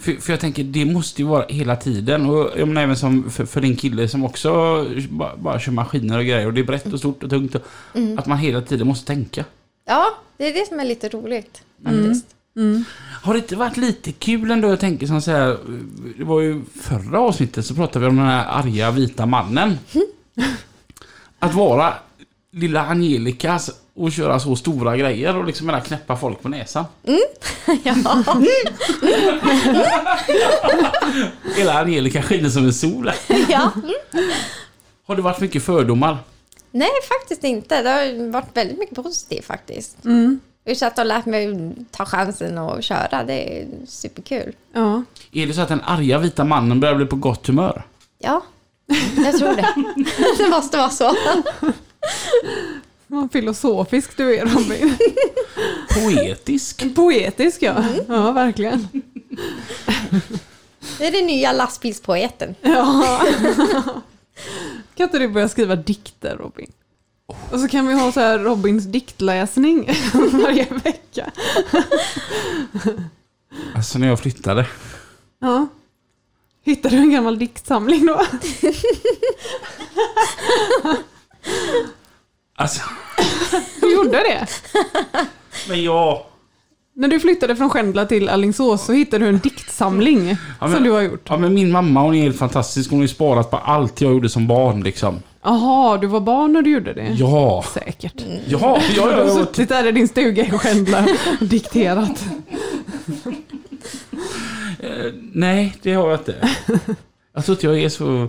Speaker 1: För, för jag tänker, det måste ju vara hela tiden. Och jag menar, även som för, för din kille som också bara, bara kör maskiner och grejer. Och det är brett och stort och tungt. Och, Att man hela tiden måste tänka.
Speaker 3: ja, det är det som är lite roligt faktiskt.
Speaker 1: Har det inte varit lite kul ändå? Jag tänker som så här, det var ju förra avsnittet så pratade vi om den här arga vita mannen. Att vara lilla Angelicas och köra så stora grejer och liksom bara knäppa folk på näsan.
Speaker 3: Ja.
Speaker 1: Hela Angelica skiner som en sol.
Speaker 3: ja.
Speaker 1: Har det varit mycket fördomar?
Speaker 3: Nej, faktiskt inte. Det har varit väldigt mycket positivt faktiskt. Jag satt och lärt mig att ta chansen och köra. Det är superkul.
Speaker 2: ja.
Speaker 1: Är det så att den arga vita mannen börjar bli på gott humör?
Speaker 3: Ja, jag tror det. det måste vara så.
Speaker 2: Vad filosofisk du är Robin.
Speaker 1: Poetisk?
Speaker 2: Poetisk ja. Ja, verkligen.
Speaker 3: Det är den nya lastbilspoeten.
Speaker 2: Ja. Kan inte du börja skriva dikter Robin? Och så kan vi ha så här Robins diktläsning varje vecka.
Speaker 1: Alltså när jag flyttade.
Speaker 2: Ja. Hittar du en gammal diktsamling då?
Speaker 1: Alltså,
Speaker 2: Du gjorde det?
Speaker 1: men jag...
Speaker 2: När du flyttade från Skändla till Alingsås så hittade du en diktsamling
Speaker 1: men-
Speaker 2: som du har gjort.
Speaker 1: Ja men min mamma hon är helt fantastisk. Hon har ju sparat på allt jag gjorde som barn liksom.
Speaker 2: Jaha, du var barn när du gjorde det?
Speaker 1: Ja!
Speaker 2: Säkert.
Speaker 1: Ja!
Speaker 2: Du
Speaker 1: ja,
Speaker 2: har
Speaker 1: ja,
Speaker 2: suttit där i din stuga i Skändla och dikterat.
Speaker 1: Eh, Nej, det har jag inte. Jag tror inte jag är så...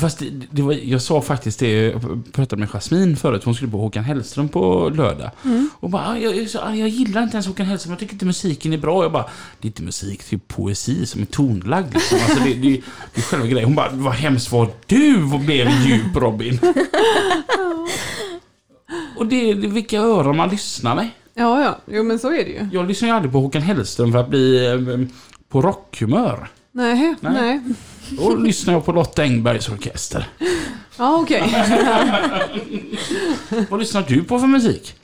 Speaker 1: Fast det, det var, jag sa faktiskt det, jag pratade med Jasmine förut, hon skulle på Håkan Hellström på lördag. Och bara, "Ah, jag, är så arg, jag gillar inte ens Håkan Hellström, jag tycker inte musiken är bra. Jag bara, det är inte musik, det är poesi som är tonlagd. Liksom. Alltså, det, det, det är själva grejen. Hon bara, vad hemskt vad du blev djup Robin. Och det, det vilka öron man lyssnar med.
Speaker 2: Ja, ja. Jo, men så är det ju.
Speaker 1: Jag lyssnar ju aldrig på Håkan Hellström för att bli eh, på rockhumör.
Speaker 2: Nej, nej.
Speaker 1: Nej. Då lyssnar jag på Lotta Engbergs orkester.
Speaker 2: Ja, okej.
Speaker 1: Vad lyssnar du på för musik?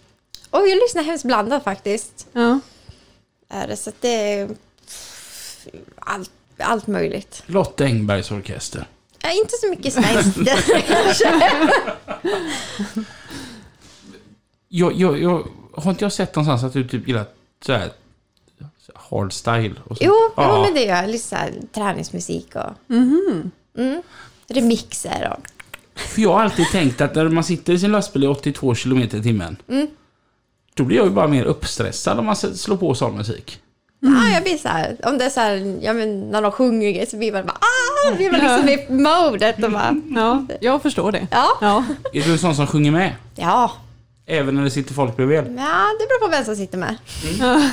Speaker 3: Och jag lyssnar hemskt blandat faktiskt.
Speaker 2: Ja.
Speaker 3: Är det, så att det är allt, allt möjligt.
Speaker 1: Lotta Engbergs orkester.
Speaker 3: Ja, inte så mycket svenskt kanske.
Speaker 1: Jag, jag, jag, har inte jag sett någonstans att du typ gillar så här hardstyle? Och så?
Speaker 3: Jo,
Speaker 1: Ja.
Speaker 3: jo men det gör jag. Lite så här, träningsmusik och Mm. remixer. Och.
Speaker 1: För jag har alltid tänkt att när man sitter i sin lastbil i 82 km i timmen.
Speaker 3: Mm.
Speaker 1: Då blir jag ju bara mer uppstressad om man s- slår på sån musik.
Speaker 2: Mm.
Speaker 3: Ja, Ah, jag blir så här, om det är så här, ja, men när de sjunger grejer så blir man bara ah! Blir man liksom i modet och bara
Speaker 2: ja, jag förstår det.
Speaker 3: ja.
Speaker 2: Ja.
Speaker 1: Är du en sån som sjunger med?
Speaker 3: Ja,
Speaker 1: Även när det sitter folk bredvid?
Speaker 3: Ja, det beror på vem som sitter med.
Speaker 2: Mm.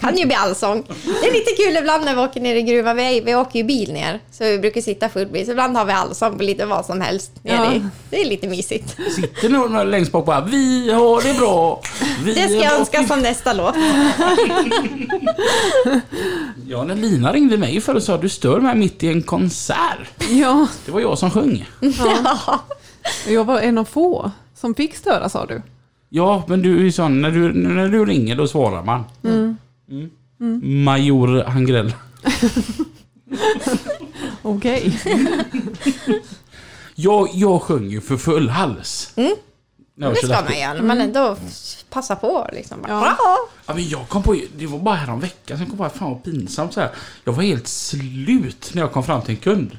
Speaker 3: kan ju bli allsång. Det är lite kul ibland när vi åker ner i gruvan. Vi, vi åker ju bil ner, så vi brukar sitta full bil. Så ibland har vi allsång på lite vad som helst. nere
Speaker 2: Ja.
Speaker 3: i. Det är lite mysigt.
Speaker 1: Sitter någon längst bak och bara “Vi har det bra!” vi
Speaker 3: Det ska
Speaker 1: är
Speaker 3: jag
Speaker 1: bra."
Speaker 3: önska som nästa låt.
Speaker 1: Ja, när Lina ringde mig för och sa “Du stör mig mitt i en konsert”.
Speaker 2: Ja,
Speaker 1: Det var jag som sjöng.
Speaker 3: Ja.
Speaker 2: jag var en av få som fick störa sa du.
Speaker 1: Ja, men du är ju sån, när du, när du ringer då svarar man. Mm. Major Hangrell.
Speaker 2: Okej.
Speaker 1: Jag, jag sjöng ju för full hals. När jag
Speaker 3: Det
Speaker 1: körde
Speaker 3: ska
Speaker 1: lastbil.
Speaker 3: man göra när man ändå passar på. Liksom. Bara,
Speaker 2: Mm. Ja.
Speaker 3: "Bra."
Speaker 1: Ja, men jag kom på, det var bara häromveckan som kom på, fan vad pinsamt så här. Jag var helt slut när jag kom fram till en kund.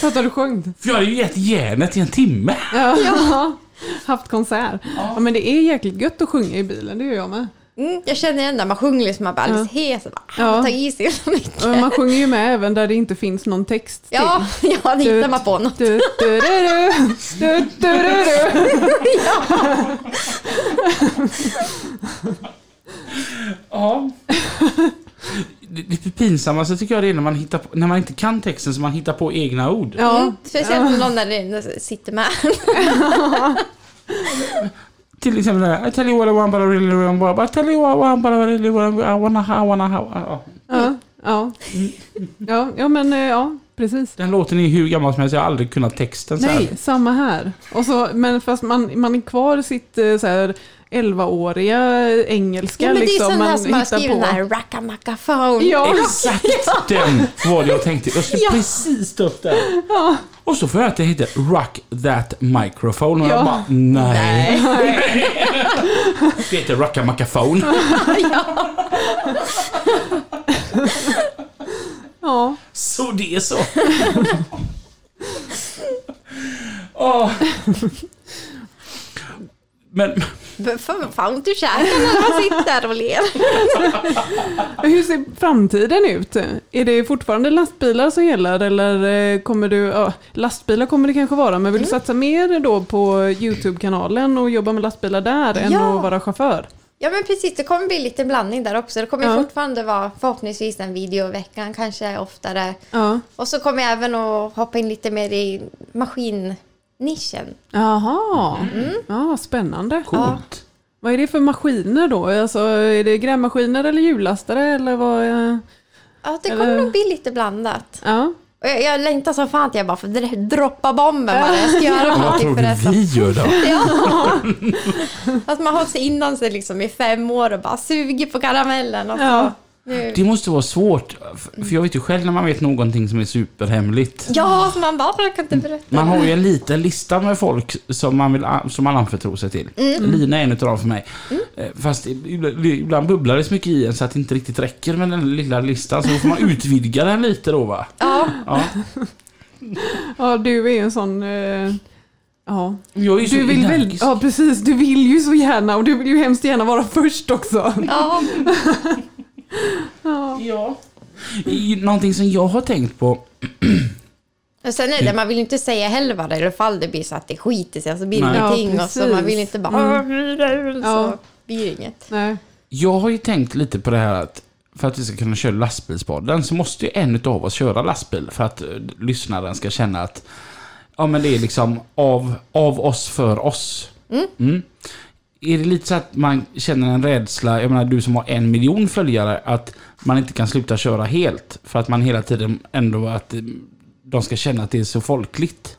Speaker 2: För att du sjöng.
Speaker 1: För jag hade ju gett järnet i en timme.
Speaker 2: Ja. Haft konsert. Ja, men det är jäkligt gött att sjunga i bilen, det gör jag med.
Speaker 3: Mm, jag känner igen det, man sjunger liksom, man bara alldeles hes. och Bara,
Speaker 2: Ja.
Speaker 3: ja. Tar i sig så mycket.
Speaker 2: Och Man sjunger ju med även där det inte finns någon text till.
Speaker 3: Ja, ja, det hittar man på något.
Speaker 2: Du, du, du, du, du, du, du, du.
Speaker 1: Ja. Det, det pinsammaste tycker jag det är när man, hittar på, när man inte kan texten så man hittar på egna ord.
Speaker 2: Ja,
Speaker 3: Mm, speciellt om någon där inne sitter med.
Speaker 1: Till exempel det här, I tell you what I want but I really want but I tell you what I want but I really want I wanna ha, I wanna ha. Ja.
Speaker 2: ja, ja. Ja, ja men eh, ja, precis.
Speaker 1: Den låten är hur gammal som helst, jag har aldrig kunnat texten så här.
Speaker 2: Nej, samma här. Och så, men fast man, man är kvar i sitt eh, så här, 11-åriga engelska.
Speaker 3: Ja, men det är
Speaker 2: liksom.
Speaker 3: sån där
Speaker 2: man
Speaker 3: som har
Speaker 2: hittar
Speaker 3: skrivit den här rackamackaphone.
Speaker 2: Ja,
Speaker 1: Exakt den var det jag tänkte. Jag skulle
Speaker 3: Ja.
Speaker 1: precis ta upp den. Och så får jag att det heter Rock That Microphone och
Speaker 2: Ja.
Speaker 1: jag bara nej.
Speaker 3: Nej.
Speaker 1: Det heter Rockamackaphone.
Speaker 2: ja.
Speaker 1: Så det är så. Åh. Men
Speaker 3: Fan, fan ont i käken när man sitter och ler.
Speaker 2: Hur ser framtiden ut? Är det fortfarande lastbilar som gäller eller eh, kommer du, ja, lastbilar kommer det kanske vara, men vill
Speaker 3: Mm.
Speaker 2: du satsa mer då på Youtube-kanalen och jobba med lastbilar där än
Speaker 3: Ja.
Speaker 2: att vara chaufför?
Speaker 3: Ja men precis, det kommer bli lite blandning där också. Det kommer
Speaker 2: Ja.
Speaker 3: fortfarande vara förhoppningsvis en video i veckan, kanske oftare.
Speaker 2: Ja.
Speaker 3: Och så kommer jag även att hoppa in lite mer i maskinnischen.
Speaker 2: Jaha, Mm. ja, spännande.
Speaker 1: coolt.
Speaker 2: Vad är det för maskiner då? Alltså, är det grävmaskiner eller hjullastare eller vad? eh,
Speaker 3: Ja, det kommer
Speaker 2: Eller-
Speaker 3: nog bli lite blandat.
Speaker 2: Ja.
Speaker 3: Och jag, jag längtar som fan till jag bara får dr- droppa bomben vad jag ska göra.
Speaker 1: Vad tror
Speaker 3: någonting för
Speaker 1: du
Speaker 3: detta.
Speaker 1: vi gör då?
Speaker 3: Ja. Att man har hållit sig innan sig liksom i fem år och bara suger på karamellen. Och så.
Speaker 2: Ja.
Speaker 3: Nu.
Speaker 1: Det måste vara svårt, för jag vet ju själv när man vet någonting som är superhemligt.
Speaker 3: ja, så man bara, jag kan inte berätta.
Speaker 1: Man har ju en liten lista med folk som man, vill, som man anförtror sig till.
Speaker 2: Mm.
Speaker 1: Lina är en utav dem för mig. Eh, Fast ibland ibland bubblar det så mycket i en så att det inte riktigt räcker med den lilla listan. Så då får man utvidga den lite då va?
Speaker 3: Ja,
Speaker 1: Ja.
Speaker 2: ja, du är ju en sån... eh, Ja,
Speaker 1: Jag är ju så
Speaker 2: du vill väl,
Speaker 1: energisk.
Speaker 2: ja, precis. Du vill ju så gärna och du vill ju hemskt gärna vara först också.
Speaker 3: ja.
Speaker 1: Ja. I- Någonting som jag har tänkt på.
Speaker 3: Och sen är det, man vill ju inte säga heller vad det är ifall det blir så att det skiter sig, så blir det
Speaker 1: Nej.
Speaker 3: ingenting.
Speaker 2: Ja,
Speaker 3: och så man
Speaker 2: precis.
Speaker 3: vill inte bara, mm.
Speaker 2: Ja.
Speaker 3: så blir det inget.
Speaker 2: Nej.
Speaker 1: Jag har ju tänkt lite på det här att för att vi ska kunna köra lastbilspodden så måste ju en utav oss köra lastbil för att eh, lyssnaren ska känna att ja men det är liksom av, av oss för oss. Mm. Är det lite så att man känner en rädsla, jag menar du som har en miljon följare, att man inte kan sluta köra helt för att man hela tiden ändå att eh, de ska känna att det är så folkligt?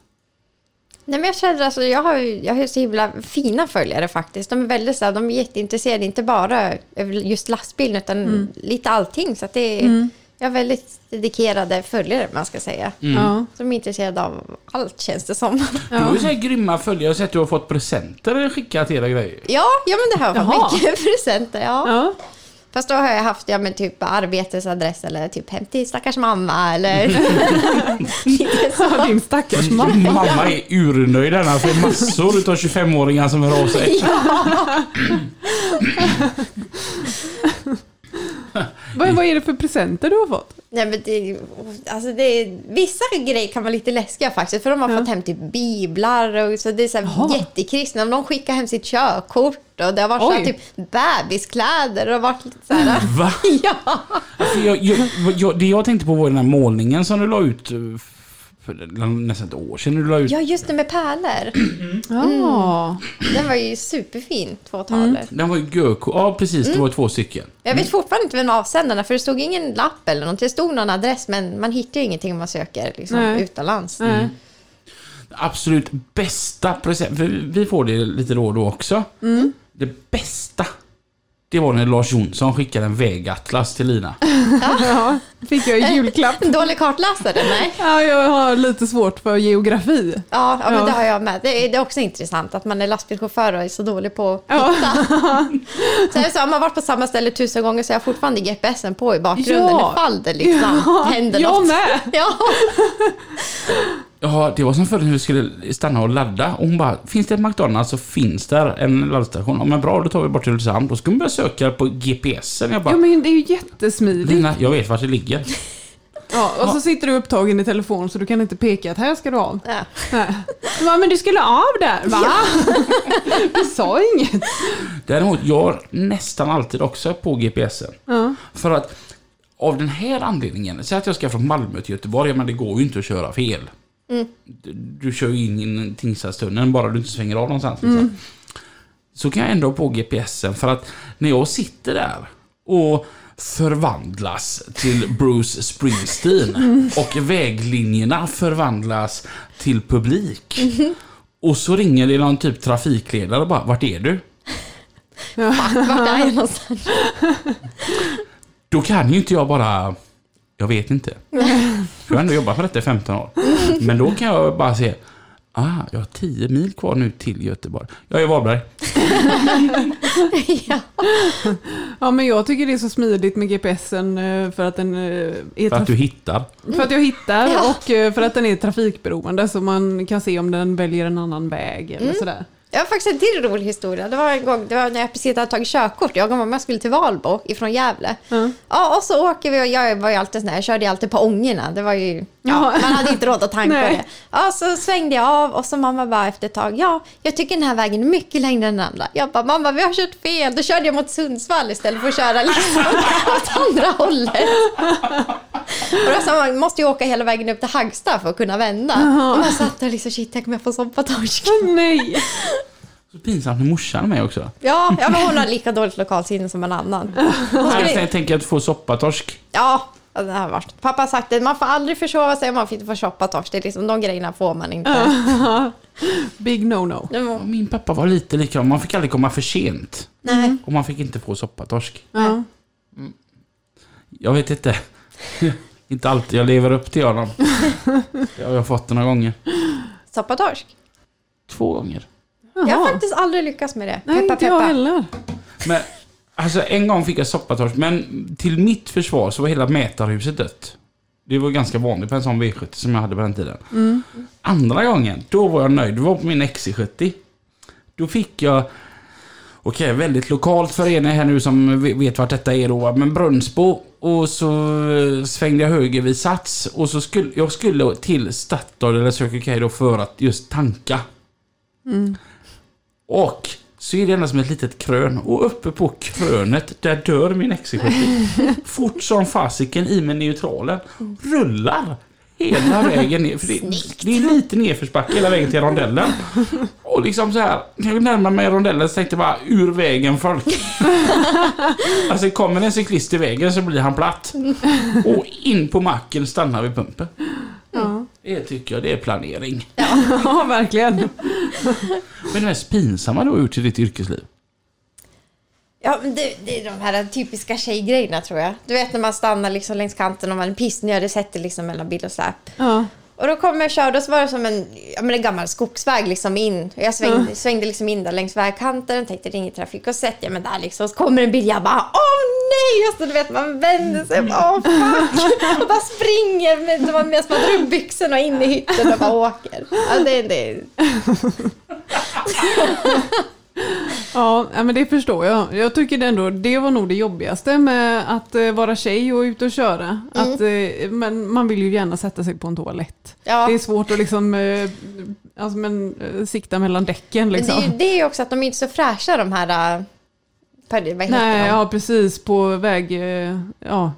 Speaker 3: Nej, men jag känner alltså, jag har ju jag har ju så himla fina följare faktiskt. De är väldigt så här, de är jätteintresserade, inte bara över just lastbilen utan
Speaker 2: Mm.
Speaker 3: lite allting. Så att det är, jag har väldigt dedikerade följare, man ska säga.
Speaker 1: Mm.
Speaker 2: Ja.
Speaker 3: Som är intresserade av allt, känns det som.
Speaker 1: Du har ju så här grymma följare, jag har sett att du har fått presenter skickat till era grejer.
Speaker 3: Ja, ja men det har jag
Speaker 2: Jaha.
Speaker 3: fått mycket presenter. Ja.
Speaker 2: Ja.
Speaker 3: Fast då har jag haft ja, men typ arbetesadress eller typ hem till stackars mamma eller lite
Speaker 2: Ja,
Speaker 3: så.
Speaker 2: din stackars mamma.
Speaker 1: Mamma är urnöjd här för det är massor utav 25-åringar som hör av sig.
Speaker 3: Ja,
Speaker 2: Vad, vad är det för presenter du har fått?
Speaker 3: Nej, men det, alltså det, vissa grejer kan vara lite läskiga faktiskt, för de har
Speaker 2: Ja.
Speaker 3: fått hem typ biblar och så det är så
Speaker 2: Jaha.
Speaker 3: här jättekristna. De skickar hem sitt körkort och det har varit så här
Speaker 2: Oj. Mm.
Speaker 3: typ bebiskläder och varit lite så här.
Speaker 1: Va?
Speaker 3: ja.
Speaker 1: För jag, jag, jag, det jag tänkte på var den här målningen som du la ut eh, för nästan ett år sedan. Du la ut,
Speaker 3: ja, just det med pärlor.
Speaker 2: Ja.
Speaker 3: Den var ju superfin, två tavlor.
Speaker 1: Den var ju görcool. Ja, precis.
Speaker 3: Mm.
Speaker 1: Det var två stycken.
Speaker 3: Jag
Speaker 2: Mm.
Speaker 3: vet fortfarande inte vem avsändarna för det stod ingen lapp eller något. Det stod någon adress, men man hittar ju ingenting om man söker liksom,
Speaker 2: Nej.
Speaker 3: utomlands.
Speaker 2: Nej.
Speaker 1: Absolut bästa present. För vi- vi får det lite då och då också.
Speaker 3: Mm.
Speaker 1: Det bästa. Det var när Lars Jonsson skickade en vägatlas till Lina.
Speaker 2: Ja, fick jag i julklapp.
Speaker 3: Mm. Dålig kartläsare, nej.
Speaker 2: Ja, jag har lite svårt för geografi.
Speaker 3: Ja, ja, men
Speaker 2: Ja.
Speaker 3: det har jag med. Det är, det är också intressant att man är lastbilschaufför och är så dålig på att
Speaker 2: Ja.
Speaker 3: hitta. Sen är det så, har man varit på samma ställe tusen gånger så jag har fortfarande GPSen på i bakgrunden
Speaker 2: Ja.
Speaker 3: ifall det liksom händer
Speaker 2: jag
Speaker 3: något.
Speaker 2: med.
Speaker 3: Ja,
Speaker 1: Ja, det var som förut när vi skulle stanna och ladda. Och hon bara, finns det ett McDonalds så finns där en laddstation. Ja men bra, då tar vi bort till Ulricehamn. Då skulle hon börja söka på GPSen. Jag bara,
Speaker 2: Ja, men det är ju jättesmidigt.
Speaker 1: Lina, jag vet var det ligger.
Speaker 2: Ja, och så sitter du upptagen i telefon så du kan inte peka att här ska du av.
Speaker 3: Ja.
Speaker 2: Nej. Va, men du skulle av där, va? Du sa inget.
Speaker 1: Däremot, jag har nästan alltid också på GPSen.
Speaker 2: Ja.
Speaker 1: För att av den här anledningen, säg att jag ska från Malmö till Göteborg, men det går ju inte att köra fel. Du, du kör ju in i Tingstadstunneln bara du inte svänger av någonstans. Liksom. Så kan jag ändå ha på GPSen för att när jag sitter där och förvandlas till Bruce Springsteen och väglinjerna förvandlas till publik. Och så ringer det någon typ trafikledare och bara, vart är du?
Speaker 3: vart är jag någonstans?
Speaker 1: Då kan ju inte jag bara, jag vet inte. Jag har ändå jobbat med detta i 15 år. Men då kan jag bara se, ah, jag har 10 mil kvar nu till Göteborg. Jag är i Varberg.
Speaker 3: Ja.
Speaker 2: Ja, men jag tycker det är så smidigt med GPSen eh, för att den eh, är
Speaker 1: För att du hittar.
Speaker 2: För att jag hittar
Speaker 3: Ja.
Speaker 2: och eh, för att den är trafikberoende så man kan se om den väljer en annan väg eller sådär.
Speaker 3: Jag har faktiskt en till rolig historia. Det var en gång det var när jag precis hade tagit körkort. Jag och mamma skulle till Valbo ifrån Gävle. Ja, och så åker vi och jag var ju alltid sån här, jag körde ju alltid på ångorna. Det var ju, ja,
Speaker 2: Ja.
Speaker 3: man hade inte råd att tanka
Speaker 2: Nej.
Speaker 3: det. Ja, så svängde jag av och så mamma bara efter ett tag, ja, jag tycker den här vägen är mycket längre än den andra. Jag bara, mamma vi har kört fel. Då körde jag mot Sundsvall istället för att köra liksom åt andra hållet. Och då sa man, man måste ju åka hela vägen upp till Hagsta för att kunna vända.
Speaker 2: Jaha.
Speaker 3: Och man satt där liksom, shit, jag kommer få soppatorsk.
Speaker 2: Åh, Nej!
Speaker 1: Så pinsamt med morsan är med också.
Speaker 3: Ja, ja men hon har lika dåligt lokalsinne som en annan. Hon
Speaker 1: Jag
Speaker 3: skulle,
Speaker 1: tänker- tänker att du får soppatorsk.
Speaker 3: ja, ja, det här var värst. Pappa har sagt det, man får aldrig försova sig, man får inte få shoppa torsk. Det är liksom, de grejerna får man inte.
Speaker 2: Big no-no.
Speaker 3: Det var-
Speaker 1: Min pappa var lite likadan. Man fick aldrig komma för sent.
Speaker 3: Nej.
Speaker 1: Och man fick inte få soppatorsk.
Speaker 2: Ja.
Speaker 1: Jag vet inte. inte alltid jag lever upp till honom. Det har jag fått några gånger.
Speaker 3: Shoppa torsk.
Speaker 1: Två gånger.
Speaker 3: Jag har
Speaker 2: Jaha.
Speaker 3: faktiskt aldrig lyckats med det.
Speaker 2: Nej, inte jag heller.
Speaker 1: Men, alltså en gång fick jag soppatorsk, men till mitt försvar så var hela mätarhuset dött. Det var ganska vanligt på en sån V70 som jag hade på den tiden. Andra gången, då var jag nöjd. Det var på min XC70. Då fick jag, okej väldigt lokalt för er här nu som vet vart detta är då, men Brunnsbo. Och så eh, svängde jag höger vid Sats och så skulle jag skulle till Statoil eller Circle K då för att just tanka. Och så är det enda som ett litet krön och uppe på krönet där dör min XC70. Fort som fasiken i med neutralen. Rullar hela vägen ner. För det, det är lite nedförsbacke hela vägen till rondellen. Och liksom så här, när jag närmade mig rondellen så tänkte jag bara ur vägen folk. Alltså kommer en cyklist i vägen så blir han platt. Och in på macken stannar vid pumpen.
Speaker 2: Ja.
Speaker 1: Det tycker jag det är planering.
Speaker 2: ja, verkligen.
Speaker 1: Vad är det mest pinsamma du har gjort i ditt yrkesliv?
Speaker 3: Ja, men det, det är de här typiska tjejgrejerna tror jag. Du vet när man stannar liksom längs kanten och man är pissnödig, sätter liksom mellan bil och släp.
Speaker 2: Ja.
Speaker 3: Och då kom jag och körde och så var det som en, ja, men en gammal skogsväg liksom in. Jag svängde, svängde liksom in där längs vägkanten och tänkte det är ingen trafik. Och sätter jag mig där liksom och så kommer en bil. Jag bara åh nej! Och så du vet man vänder sig och bara, åh fuck! Och bara springer med, med- medan man drar upp byxorna in i hytten och bara åker. Ja, det, det.
Speaker 2: Ja, ja, men det förstår jag. Jag tycker det ändå det var nog det jobbigaste med att eh, vara tjej och ut och köra.
Speaker 3: Mm.
Speaker 2: Att, eh, men man vill ju gärna sätta sig på en toalett.
Speaker 3: Ja.
Speaker 2: Det är svårt att liksom, eh, alltså, men, eh, sikta mellan däcken.
Speaker 3: Men det
Speaker 2: Liksom.
Speaker 3: är ju det är också att de är inte så fräscha de här... äh, per- Vad heter
Speaker 2: Nej,
Speaker 3: de?
Speaker 2: ja precis på väg, eh, ja,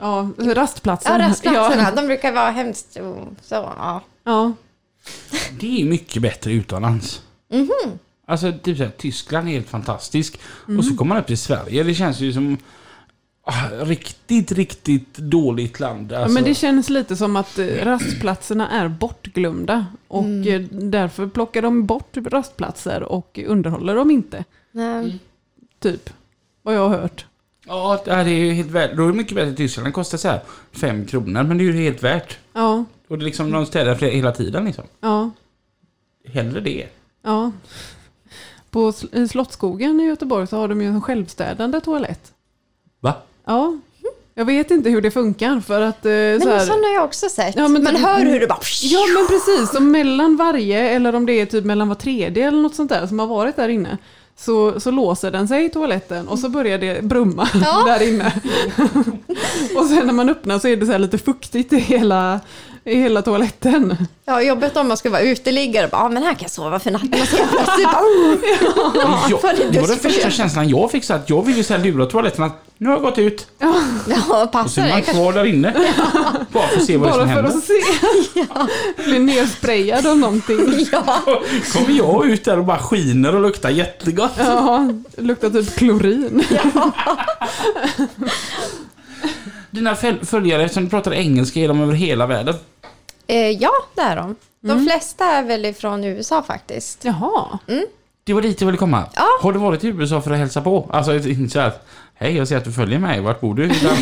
Speaker 2: ja rastplatsen.
Speaker 3: Ja, rastplatserna.
Speaker 2: Ja,
Speaker 3: De brukar vara hemskt... oh, Så, ja.
Speaker 2: ja.
Speaker 1: Det är mycket bättre utomlands.
Speaker 2: Mhm.
Speaker 1: Alltså typ såhär, Tyskland är helt fantastisk. Och
Speaker 2: Mhm.
Speaker 1: så kommer man upp till Sverige. Det känns ju som ah, riktigt, riktigt dåligt land.
Speaker 2: Ja,
Speaker 1: Alltså,
Speaker 2: men det känns lite som att eh, rastplatserna är bortglömda och
Speaker 3: Mm.
Speaker 2: eh, därför plockar de bort rastplatser och underhåller dem inte.
Speaker 3: Nej.
Speaker 2: Typ, vad jag har hört.
Speaker 1: ja, det här är ju helt värt. Då är det mycket bättre i Tyskland. Det kostar så här 5 kronor, men det är ju helt värt.
Speaker 2: Ja,
Speaker 1: Och det är liksom, de städar fler- hela tiden liksom.
Speaker 2: ja,
Speaker 1: Hellre det.
Speaker 2: ja. På sl- i Slottsskogen i Göteborg så har de ju en självstädande toalett.
Speaker 1: Va?
Speaker 2: Ja, jag vet inte hur det funkar för att... eh,
Speaker 3: Men
Speaker 2: så här-
Speaker 3: sådana har jag också sett.
Speaker 2: Ja, men
Speaker 3: Man
Speaker 2: typ-
Speaker 3: hör hur det bara...
Speaker 2: Ja men precis, och mellan varje, eller om det är typ mellan var tredje eller något sånt där som har varit där inne, så, så låser den sig i toaletten och så börjar det brumma
Speaker 3: Ja.
Speaker 2: där inne. och sen när man öppnar så är det så här lite fuktigt i hela, i hela toaletten.
Speaker 3: Ja, jobbigt om man skulle vara uteliggare. Bara, ah, men här kan jag sova för natten. Och så helt plötsligt bara... oh.
Speaker 1: jag,
Speaker 3: för det är
Speaker 1: det var den
Speaker 3: dödsfel.
Speaker 1: första känslan jag fick. Så att jag ville så här lura toaletten att nu har jag gått ut.
Speaker 3: Ja,
Speaker 1: Och så
Speaker 3: passar
Speaker 1: är man
Speaker 3: det.
Speaker 1: kvar där inne. Bara för att se vad det
Speaker 2: Alltså,
Speaker 1: är
Speaker 2: Bara
Speaker 1: som
Speaker 2: för
Speaker 1: händer.
Speaker 2: att se. Bli nersprayad av någonting.
Speaker 3: Ja.
Speaker 1: Kommer jag ut där och bara skiner och luktar jättegott.
Speaker 2: Ja, det luktar typ klorin.
Speaker 1: Dina föl- följare, eftersom du pratar engelska, är de över hela världen?
Speaker 3: Eh, ja, det är de. De
Speaker 2: Mm.
Speaker 3: flesta är väl ifrån USA faktiskt.
Speaker 2: Jaha.
Speaker 1: Det var dit jag ville komma.
Speaker 3: Ja.
Speaker 1: Har du varit i USA för att hälsa på? Alltså inte så här, hej jag ser att du följer mig, vart bor du? Utan,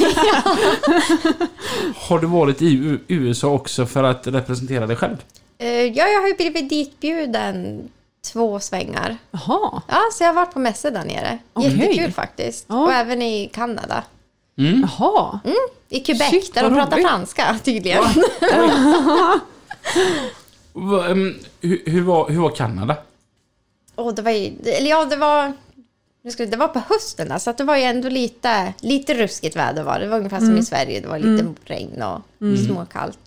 Speaker 1: har du varit i U- USA också för att representera dig själv?
Speaker 3: Eh, ja, jag har ju blivit ditbjuden två svängar.
Speaker 2: Jaha.
Speaker 3: Ja, så jag har varit på mässor där nere.
Speaker 2: Okej.
Speaker 3: Jättekul faktiskt.
Speaker 2: Ja.
Speaker 3: Och även i Kanada.
Speaker 1: Mm.
Speaker 2: Jaha.
Speaker 3: I Quebec,
Speaker 2: Shit,
Speaker 3: där
Speaker 2: vad
Speaker 3: de pratar
Speaker 2: roligt.
Speaker 3: franska tydligen.
Speaker 1: Va, ehm, hur, hur, var, hur var Kanada?
Speaker 3: Och det var ju, eller ja, det var, nu ska, det var på hösten där, så att det var ju ändå lite, lite ruskigt väder var det. Det var ungefär som i Sverige, det var lite regn och småkallt.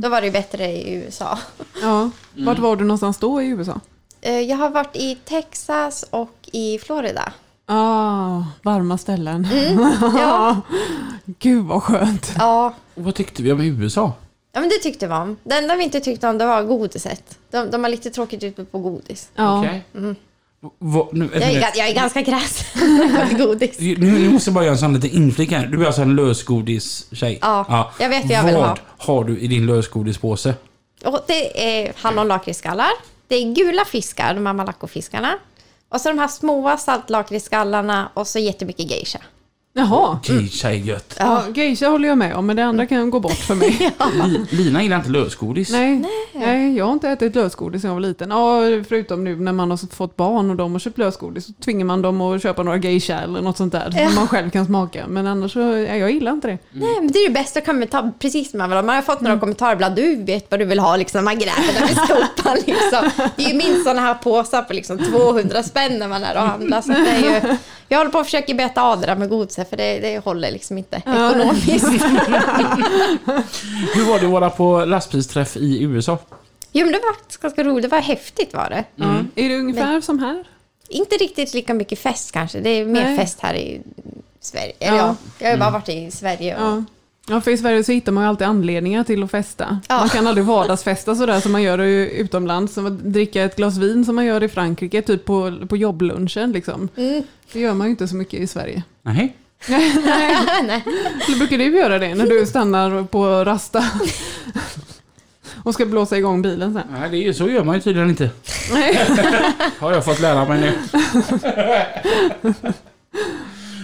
Speaker 3: Då var det ju bättre i USA.
Speaker 2: Ja.
Speaker 1: Mm.
Speaker 2: Vart var du någonstans då i USA?
Speaker 3: Eh, Jag har varit i Texas och i Florida.
Speaker 2: Ah, varma ställen.
Speaker 3: Ja,
Speaker 2: Gud vad skönt.
Speaker 3: ja.
Speaker 1: Och Vad tyckte vi om USA?
Speaker 3: ja men det tyckte vi om. Det enda vi inte tyckte om det var godiset. De, de har lite tråkigt ute på godis.
Speaker 2: Ja.
Speaker 1: Okej. Va, nu,
Speaker 3: Mm. Jag är, ga- jag är ganska kräsen när det kommer till godis.
Speaker 1: Nu, nu måste jag bara göra en sån liten inflik här. Du är alltså en lösgodis-tjej?
Speaker 3: Ja, jag vet vad jag
Speaker 1: Vad
Speaker 3: vill ha.
Speaker 1: har du i din lösgodispåse?
Speaker 3: Och det är hallonlakritsskallar. Det är gula fiskar, de här malacofiskarna. Och så de här små saltlakritsskallarna och så jättemycket geisha.
Speaker 2: Jaha.
Speaker 3: Mm.
Speaker 1: Geisha är gött.
Speaker 2: Ja, geisha håller jag med om, men det andra kan gå bort för mig.
Speaker 1: Li- Lina gillar inte lösgodis.
Speaker 2: Nej, nej, jag har inte ätit lösgodis sedan jag var liten. Ja, förutom nu när man har fått barn och de har köpt lösgodis så tvingar man dem att köpa några geisha eller något sånt där som man själv kan smaka. Men annars så, nej, jag gillar inte det.
Speaker 3: Nej, men det är det bästa kommentarer, precis som man vill ha. Man har fått några kommentarer ibland, du vet vad du vill ha, liksom. man gräver där vid skopan. Liksom. Det är ju minst sådana här påsar på liksom 200 spänn när man är och handlar. Så att det är ju, jag håller på att försöka beta av det där med godiset, för det, det håller liksom inte ekonomiskt.
Speaker 1: Hur var det att vara på lastbilsträff i USA?
Speaker 3: Jo, men det var faktiskt ganska roligt, det var häftigt var det.
Speaker 2: Ja. Är det ungefär som här?
Speaker 3: Inte riktigt lika mycket fest kanske. Det är mer
Speaker 2: Nej.
Speaker 3: fest här i Sverige.
Speaker 2: Ja.
Speaker 3: Ja. Ja, jag har ju bara varit i Sverige. Och,
Speaker 2: Ja. Ja, för i Sverige så hittar man ju alltid anledningar till att festa.
Speaker 3: Ja.
Speaker 2: Man kan aldrig vardagsfesta sådär som man gör i- utomlands, som att dricka ett glas vin som man gör i Frankrike, typ på, på jobblunchen liksom. Det gör man ju inte så mycket i Sverige.
Speaker 1: Nej.
Speaker 3: Nej.
Speaker 2: Eller brukar du göra det när du stannar på rasta och ska blåsa igång bilen sen?
Speaker 1: Nej, det är, ju- så gör man ju tydligen inte.
Speaker 2: Nej.
Speaker 1: Har jag fått lära mig nu.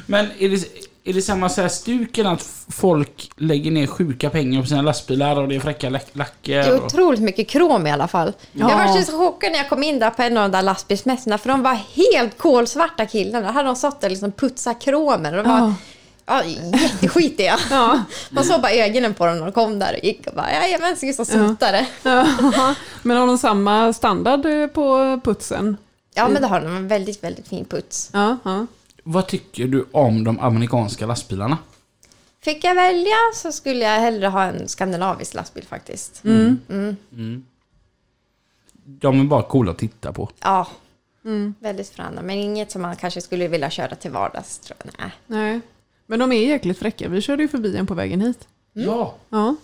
Speaker 1: Men är det, är det samma så här stuken att folk lägger ner sjuka pengar på sina lastbilar och det är fräcka lack-
Speaker 3: Det är
Speaker 1: lacker? Och...
Speaker 3: otroligt mycket krom i alla fall. Jag var så chockad när jag kom in där på en av de där lastbilsmässorna för de var helt kolsvarta killarna. Där hade de stått och liksom putsat kromen. och De var
Speaker 2: Ja.
Speaker 3: ja, jätteskitiga.
Speaker 2: Ja.
Speaker 3: Man såg bara ögonen på dem när de kom där och gick och bara jajamän, ska vi stå och sotare.
Speaker 2: Ja. Men har de samma standard eh, på putsen?
Speaker 3: Ja, men det har de en väldigt, väldigt fin puts.
Speaker 2: Ja, ja.
Speaker 1: Vad tycker du om de amerikanska lastbilarna?
Speaker 3: Fick jag välja så skulle jag hellre ha en skandinavisk lastbil faktiskt.
Speaker 1: De är bara coola att titta på.
Speaker 3: Ja, väldigt fräna. Men inget som man kanske skulle vilja köra till vardags. Tror jag. Nej.
Speaker 2: Nej. Men de är jäkligt fräcka. Vi körde ju förbi en på vägen hit.
Speaker 1: Ja,
Speaker 2: Ja,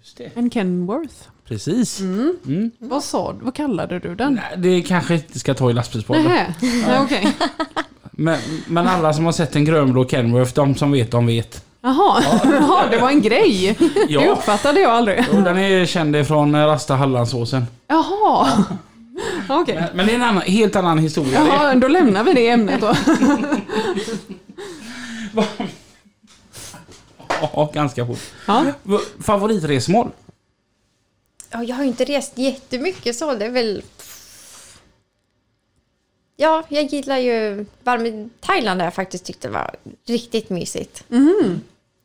Speaker 1: just det.
Speaker 2: en Kenworth.
Speaker 1: Precis.
Speaker 3: Mm.
Speaker 2: Vad sa du? Vad kallade du den?
Speaker 1: Nej, Det kanske inte ska ta i lastbilspodden.
Speaker 2: Nähä, Nej, okej.
Speaker 1: Men, men alla som har sett en grönblå Kenworth, de som vet, de vet.
Speaker 2: Jaha, ja, det var en grej. Det
Speaker 1: Ja,
Speaker 2: uppfattade jag aldrig.
Speaker 1: jo, den är känd ifrån eh, Rasta Hallandsåsen.
Speaker 2: Jaha, okej.
Speaker 1: Men, men det är en annan, helt annan historia. det.
Speaker 2: Jaha, då lämnar vi det ämnet då.
Speaker 1: Ja, ganska fort.
Speaker 2: Ja.
Speaker 1: V- Favoritresmål?
Speaker 3: Ja, jag har ju inte rest jättemycket så det är väl... Ja, jag gillar ju varm Thailand där jag faktiskt tyckte det var riktigt mysigt. Mm.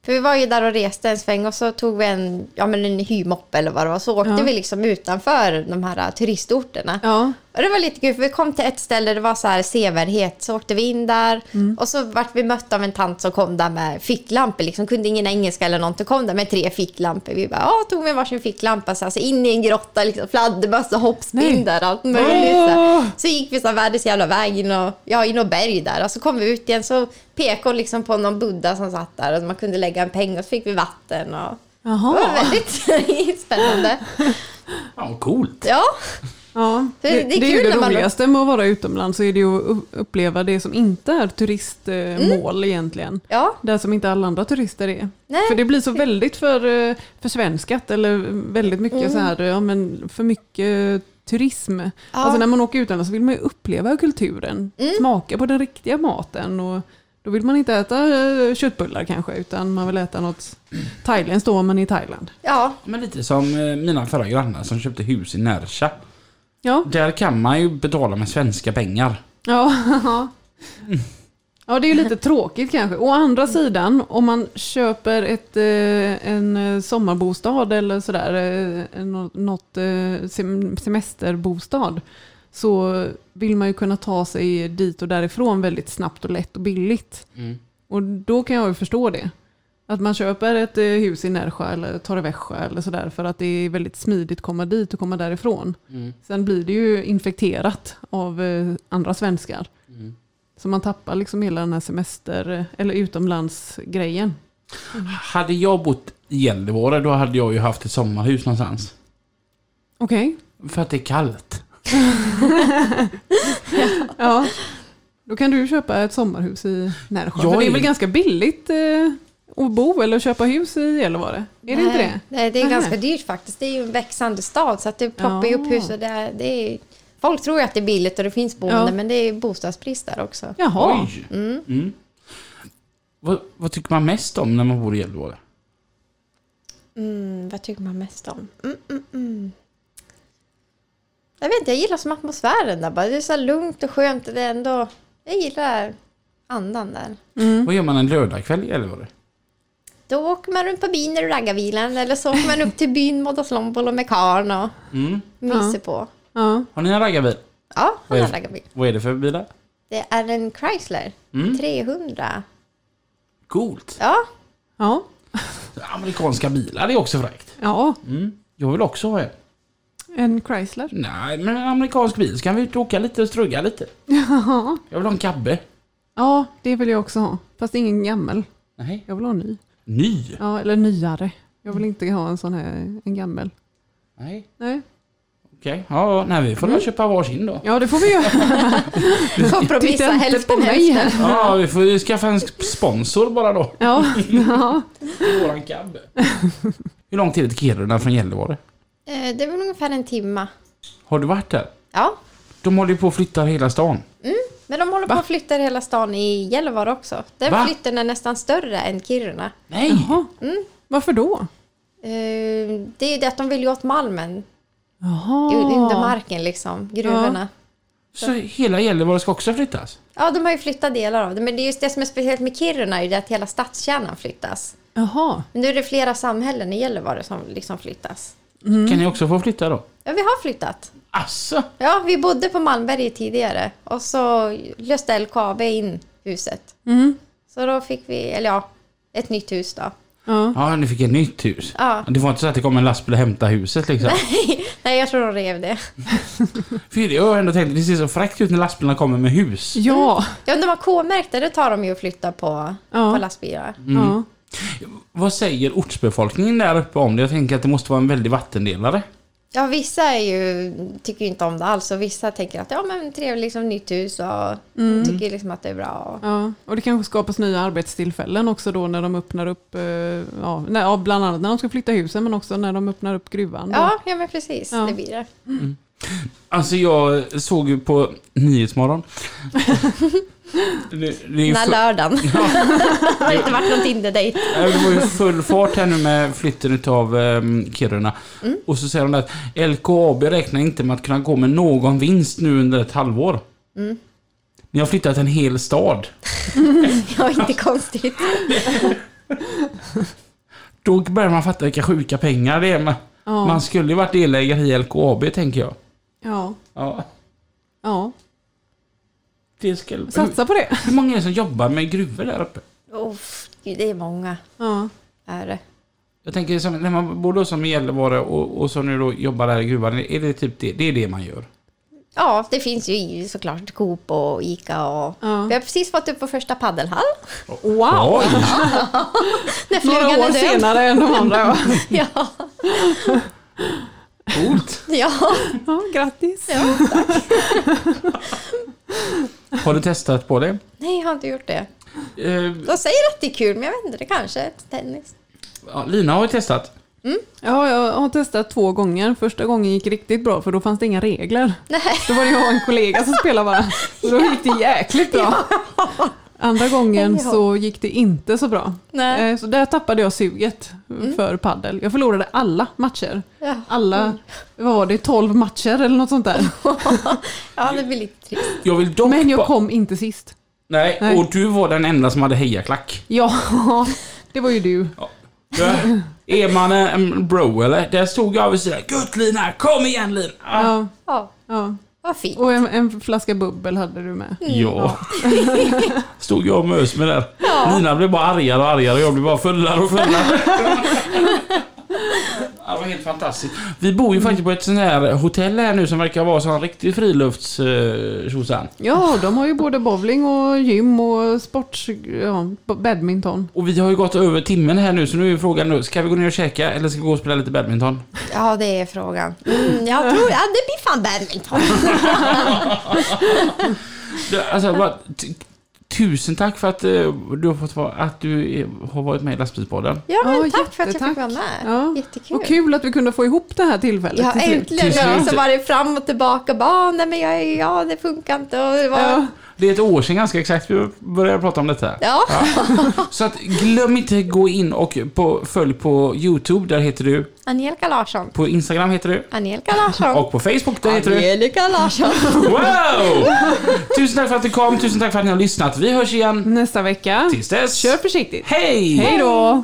Speaker 3: För vi var ju där och reste en sväng och så tog vi en, ja, men en hyrmoppe eller vad det var. Så åkte
Speaker 2: Ja.
Speaker 3: vi liksom utanför de här ä, turistorterna.
Speaker 2: Ja.
Speaker 3: Och det var lite kul för vi kom till ett ställe, det var så här sevärdhet. Så åkte vi in där och så vart vi mötta av en tant som kom där med ficklampor. Liksom kunde ingen engelska eller någonting. Kom där med tre ficklampor. Vi bara, ja, tog med varsin ficklampa. Så alltså in i en grotta, liksom, fladdermöss och hoppspindlar. Allt möjligt. Så, här. så gick vi så här världens jävla väg in och, ja, in och berg där. Och så kom vi ut igen så pekade hon liksom på någon buddha som satt där. Och man kunde lägga en peng och så fick vi vatten. Och,
Speaker 2: Jaha.
Speaker 3: Det var väldigt spännande.
Speaker 1: Ja, coolt.
Speaker 3: Ja,
Speaker 2: Ja,
Speaker 3: Det-
Speaker 2: det,
Speaker 3: det är
Speaker 2: det, är
Speaker 3: kul
Speaker 2: ju
Speaker 3: när
Speaker 2: det
Speaker 3: man-
Speaker 2: roligaste med att vara utomlands så är det ju att u- uppleva det som inte är turistmål
Speaker 3: Mm.
Speaker 2: egentligen.
Speaker 3: ja.
Speaker 2: Där som inte alla andra turister är.
Speaker 3: Nej.
Speaker 2: För det blir så väldigt för, eh, försvenskat eller väldigt mycket så här, ja, men för mycket turism. Alltså när man åker utomlands så vill man ju uppleva kulturen, smaka på den riktiga maten och då vill man inte äta eh, köttbullar kanske utan man vill äta något thailändskt då om man är i Thailand.
Speaker 3: ja.
Speaker 1: Men lite som eh, mina förra grannar som köpte hus i Närsa.
Speaker 2: Ja,
Speaker 1: Där kan man ju betala med svenska pengar.
Speaker 2: Ja, ja. ja, det är ju lite tråkigt kanske. Å andra sidan, om man köper ett, eh, en eh, sommarbostad eller sådär, eh, nå- något eh, sem- semesterbostad, så vill man ju kunna ta sig dit och därifrån väldigt snabbt och lätt och billigt. Och då kan jag ju förstå det. Att man köper ett eh, hus i Närsjö eller Torrevieja eller sådär för att det är väldigt smidigt att komma dit och komma därifrån.
Speaker 1: Mm,
Speaker 2: Sen blir det ju infekterat av eh, andra svenskar.
Speaker 1: mm.
Speaker 2: Så man tappar liksom hela den här semester eh, eller utomlandsgrejen.
Speaker 1: Hade jag bott i Gällivare då hade jag ju haft ett sommarhus någonstans.
Speaker 2: Okej,
Speaker 1: För att det är kallt.
Speaker 2: ja. Då kan du köpa ett sommarhus i Närsjö.
Speaker 1: Jag
Speaker 2: För det är
Speaker 1: är-
Speaker 2: väl ganska billigt eh, att bo eller köpa hus i Gällivare? Är det inte det?
Speaker 3: Nej, det är
Speaker 2: Nej.
Speaker 3: ganska dyrt faktiskt. Det är ju en växande stad så att det ploppar ju upp
Speaker 2: Ja.
Speaker 3: hus. Och det är, det är, folk tror ju att det är billigt och det finns boende
Speaker 2: Ja.
Speaker 3: men det är bostadsbrist där också.
Speaker 2: Jaha.
Speaker 1: Oj! Mm. Vad, vad tycker man mest om när man bor i Gällivare?
Speaker 3: Mm, vad tycker man mest om? Mm, mm, mm. Jag vet inte, jag gillar som atmosfären där bara. Det är så här lugnt och skönt. och Det är ändå, jag gillar andan där.
Speaker 1: Vad gör man en lördagkväll i Gällivare?
Speaker 3: Då åker man runt på byn när du raggar bilen eller så åker man upp till byn Modoslompolo med karln och
Speaker 1: Mm.
Speaker 3: myser på.
Speaker 2: Ja.
Speaker 1: Har ni en raggarbil?
Speaker 3: Ja, han
Speaker 1: Vad är
Speaker 3: har
Speaker 1: det-
Speaker 3: raggarbil.
Speaker 1: Vad är det för bilar?
Speaker 3: Det är en Chrysler
Speaker 1: Mm.
Speaker 3: 300.
Speaker 1: Coolt!
Speaker 3: Ja,
Speaker 2: Ja.
Speaker 1: Amerikanska bilar är också fräckt.
Speaker 2: ja.
Speaker 1: Jag vill också ha en.
Speaker 2: En Chrysler.
Speaker 1: Nej, men en amerikansk bil så kan vi ut och åka lite och strugga lite.
Speaker 2: Jaha.
Speaker 1: Jag vill ha en cabbe.
Speaker 2: Ja, det vill jag också ha. Fast ingen gammal.
Speaker 1: Nej.
Speaker 2: Jag vill ha en ny.
Speaker 1: Ny?
Speaker 2: Ja, eller nyare. Jag vill inte ha en sån här, en gammal.
Speaker 1: Nej.
Speaker 2: Nej.
Speaker 1: Okej, ja, ja, nej, vi får mm. köpa varsin då.
Speaker 2: Ja, det får vi göra. Titta
Speaker 3: kompromissa
Speaker 2: inte
Speaker 3: hälften
Speaker 2: på mig
Speaker 3: hälften.
Speaker 2: här.
Speaker 1: Ja, vi får ju skaffa en sponsor bara då.
Speaker 2: Ja, ja.
Speaker 1: Våran cab. Hur långt är det till Kiruna från Gällivare?
Speaker 3: Eh, Det är väl ungefär en timma.
Speaker 1: Har du varit där?
Speaker 3: Ja,
Speaker 1: De håller ju på att flytta hela stan.
Speaker 3: men de håller på och flyttar hela stan i Gällivare också. Den
Speaker 1: Va?
Speaker 3: flytten är nästan större än Kiruna.
Speaker 1: Nej!
Speaker 2: Jaha. Varför då?
Speaker 3: Eh, Det är ju det att de vill ju åt malmen
Speaker 2: Jaha.
Speaker 3: i- under marken liksom, gruvorna.
Speaker 1: Så hela Gällivare ska också flyttas?
Speaker 3: Ja. de har ju flyttat delar av det. Men det är just det som är speciellt med Kiruna, är ju det att hela stadskärnan flyttas.
Speaker 2: Jaha.
Speaker 3: Men nu är det flera samhällen i Gällivare som liksom flyttas.
Speaker 1: Kan ni också få flytta då?
Speaker 3: Ja, vi har flyttat.
Speaker 1: Asså?
Speaker 3: Ja, vi bodde på Malmberget tidigare och så löste LKAB in huset.
Speaker 2: Mm.
Speaker 3: Så då fick vi, eller ja, ett nytt hus då.
Speaker 2: Ja.
Speaker 1: Ja, ni fick ett nytt hus.
Speaker 3: Ja.
Speaker 1: Det var inte så att det kom en lastbil och hämtade huset liksom.
Speaker 3: Nej, jag tror de rev det.
Speaker 1: För jag har ändå tänkt, det ser så fräckt ut när lastbilarna kommer med hus.
Speaker 2: Ja.
Speaker 3: Jag undrar vad K-märkta, det tar de ju att flytta på,
Speaker 2: Ja.
Speaker 3: på lastbilar.
Speaker 2: ja.
Speaker 1: Vad säger ortsbefolkningen där uppe om det? Jag tänker att det måste vara en väldig vattendelare.
Speaker 3: Ja, vissa är ju, tycker ju inte om det alls och vissa tänker att ja, men trevligt liksom nytt hus och
Speaker 2: Mm.
Speaker 3: tycker liksom att det är bra. Och,
Speaker 2: Ja, och det kanske skapas nya arbetstillfällen också då när de öppnar upp, eh, ja, när, ja, bland annat när de ska flytta husen men också när de öppnar upp gruvan. då.
Speaker 3: ja, ja, men precis,
Speaker 2: Ja.
Speaker 3: det blir det.
Speaker 1: Alltså jag såg ju på Nyhetsmorgon. det, det, är ju
Speaker 3: Den här
Speaker 1: full,
Speaker 3: lördagen. det har inte varit någon Tinder-dejt.
Speaker 1: det var ju full fart här nu med flytten utav um, Kiruna.
Speaker 2: Mm.
Speaker 1: Och så säger de att LKAB räknar inte med att kunna gå med någon vinst nu under ett halvår.
Speaker 2: Mm.
Speaker 1: Ni har flyttat en hel stad.
Speaker 3: Ja, inte konstigt.
Speaker 1: Då börjar man fatta vilka sjuka pengar det är. Med.
Speaker 2: Ja.
Speaker 1: Man skulle ju varit delägare i LKAB tänker jag.
Speaker 2: Ja.
Speaker 1: Ja,
Speaker 2: ja,
Speaker 1: det skulle...
Speaker 2: satsa på det.
Speaker 1: Hur många är det som jobbar med gruvor där uppe?
Speaker 3: Uff, gud, det är många.
Speaker 2: Ja.
Speaker 3: Är det.
Speaker 1: Jag tänker som, när man bor då som i Gällivare och, och som nu då jobbar där i gruvan, är det typ det, det är det man gör?
Speaker 3: Ja, det finns ju i- såklart Coop och Ica och...
Speaker 2: Ja.
Speaker 3: Vi har precis varit upp på första paddelhall.
Speaker 2: Wow!
Speaker 1: Oj!
Speaker 3: När
Speaker 2: Några
Speaker 3: flugan
Speaker 2: år
Speaker 3: är död.
Speaker 2: senare än de andra. Ja.
Speaker 3: Ja,
Speaker 1: Coolt!
Speaker 3: ja.
Speaker 2: Ja, grattis!
Speaker 1: Har du testat på det?
Speaker 3: Nej, jag har inte gjort det.
Speaker 1: Eh,
Speaker 3: De säger att det är kul, men jag vet inte, det kanske är tennis.
Speaker 1: ja, Lina har ju testat.
Speaker 2: Ja, jag har testat två gånger. Första gången gick riktigt bra för då fanns det inga regler.
Speaker 3: Nej.
Speaker 2: Då var det jag och en kollega som spelade bara. Så då gick det jäkligt bra. Andra gången
Speaker 3: Ja.
Speaker 2: så gick det inte så bra.
Speaker 3: Nej. Mm.
Speaker 2: Eh, Så där tappade jag suget för paddel. Jag förlorade alla matcher.
Speaker 3: Ja. Mm.
Speaker 2: Alla, vad var det, 12 matcher eller något sånt där.
Speaker 3: Ja, det blir lite trist.
Speaker 1: Jag vill dock
Speaker 2: Men
Speaker 1: ba-
Speaker 2: jag kom inte sist.
Speaker 1: Nej,
Speaker 2: Nej.
Speaker 1: och du var den enda som hade hejaklack.
Speaker 2: Ja, det var ju du.
Speaker 1: Eh, är man en bro eller? Där stod jag vid sidan. Gött Lina, kom igen Lina! Ah.
Speaker 2: Ja,
Speaker 3: Ja,
Speaker 2: ja.
Speaker 3: vad fint.
Speaker 2: Och en, en flaska bubbel hade du med.
Speaker 1: Ja. Stod jag och mös med där. Lina blev bara argare och argare och jag blev bara fullare och fullare. Ja, Det var helt fantastiskt. Vi bor ju faktiskt på ett sånt här hotell här nu som verkar vara sån riktig frilufts eh, tjosan.
Speaker 2: Ja, de har ju både bowling och gym och sports... Ja, badminton.
Speaker 1: Och vi har ju gått över timmen här nu så nu är frågan nu, ska vi gå ner och käka eller ska vi gå och spela lite badminton?
Speaker 3: Ja, det är frågan. Mm, jag tror, ja, det blir fan badminton.
Speaker 1: Det- Alltså, bara, t- tusen tack för att, eh, du har, fått vara, att du är, har varit med i lastbilspodden.
Speaker 3: Ja, men
Speaker 2: Ja,
Speaker 3: tack för att jag
Speaker 2: jättetack.
Speaker 3: fick vara med.
Speaker 2: Ja.
Speaker 3: Jättekul.
Speaker 2: Och kul att vi kunde få ihop det här tillfället
Speaker 3: Ja,
Speaker 2: till slut.
Speaker 3: äntligen.
Speaker 1: Till
Speaker 3: Jag har
Speaker 1: slut.
Speaker 3: liksom varit fram och tillbaka. Bara, "Ah, nej, men jag, är- ja, det funkar inte. Och det var,
Speaker 2: Ja,
Speaker 3: ja.
Speaker 1: Det är ett år sedan ganska exakt vi började prata om detta. Så att glöm inte gå in och på, följ på Youtube, där heter du.
Speaker 3: Angelica Larsson.
Speaker 1: På Instagram heter du.
Speaker 3: Angelica Larsson.
Speaker 1: Och på Facebook, där heter du.
Speaker 3: Angelica Larsson.
Speaker 1: Wow! Tusen tack för att du kom, tusen tack för att ni har lyssnat. Vi hörs igen
Speaker 2: Nästa vecka.
Speaker 1: tills dess.
Speaker 2: Kör försiktigt.
Speaker 1: Hej!
Speaker 2: Hej då!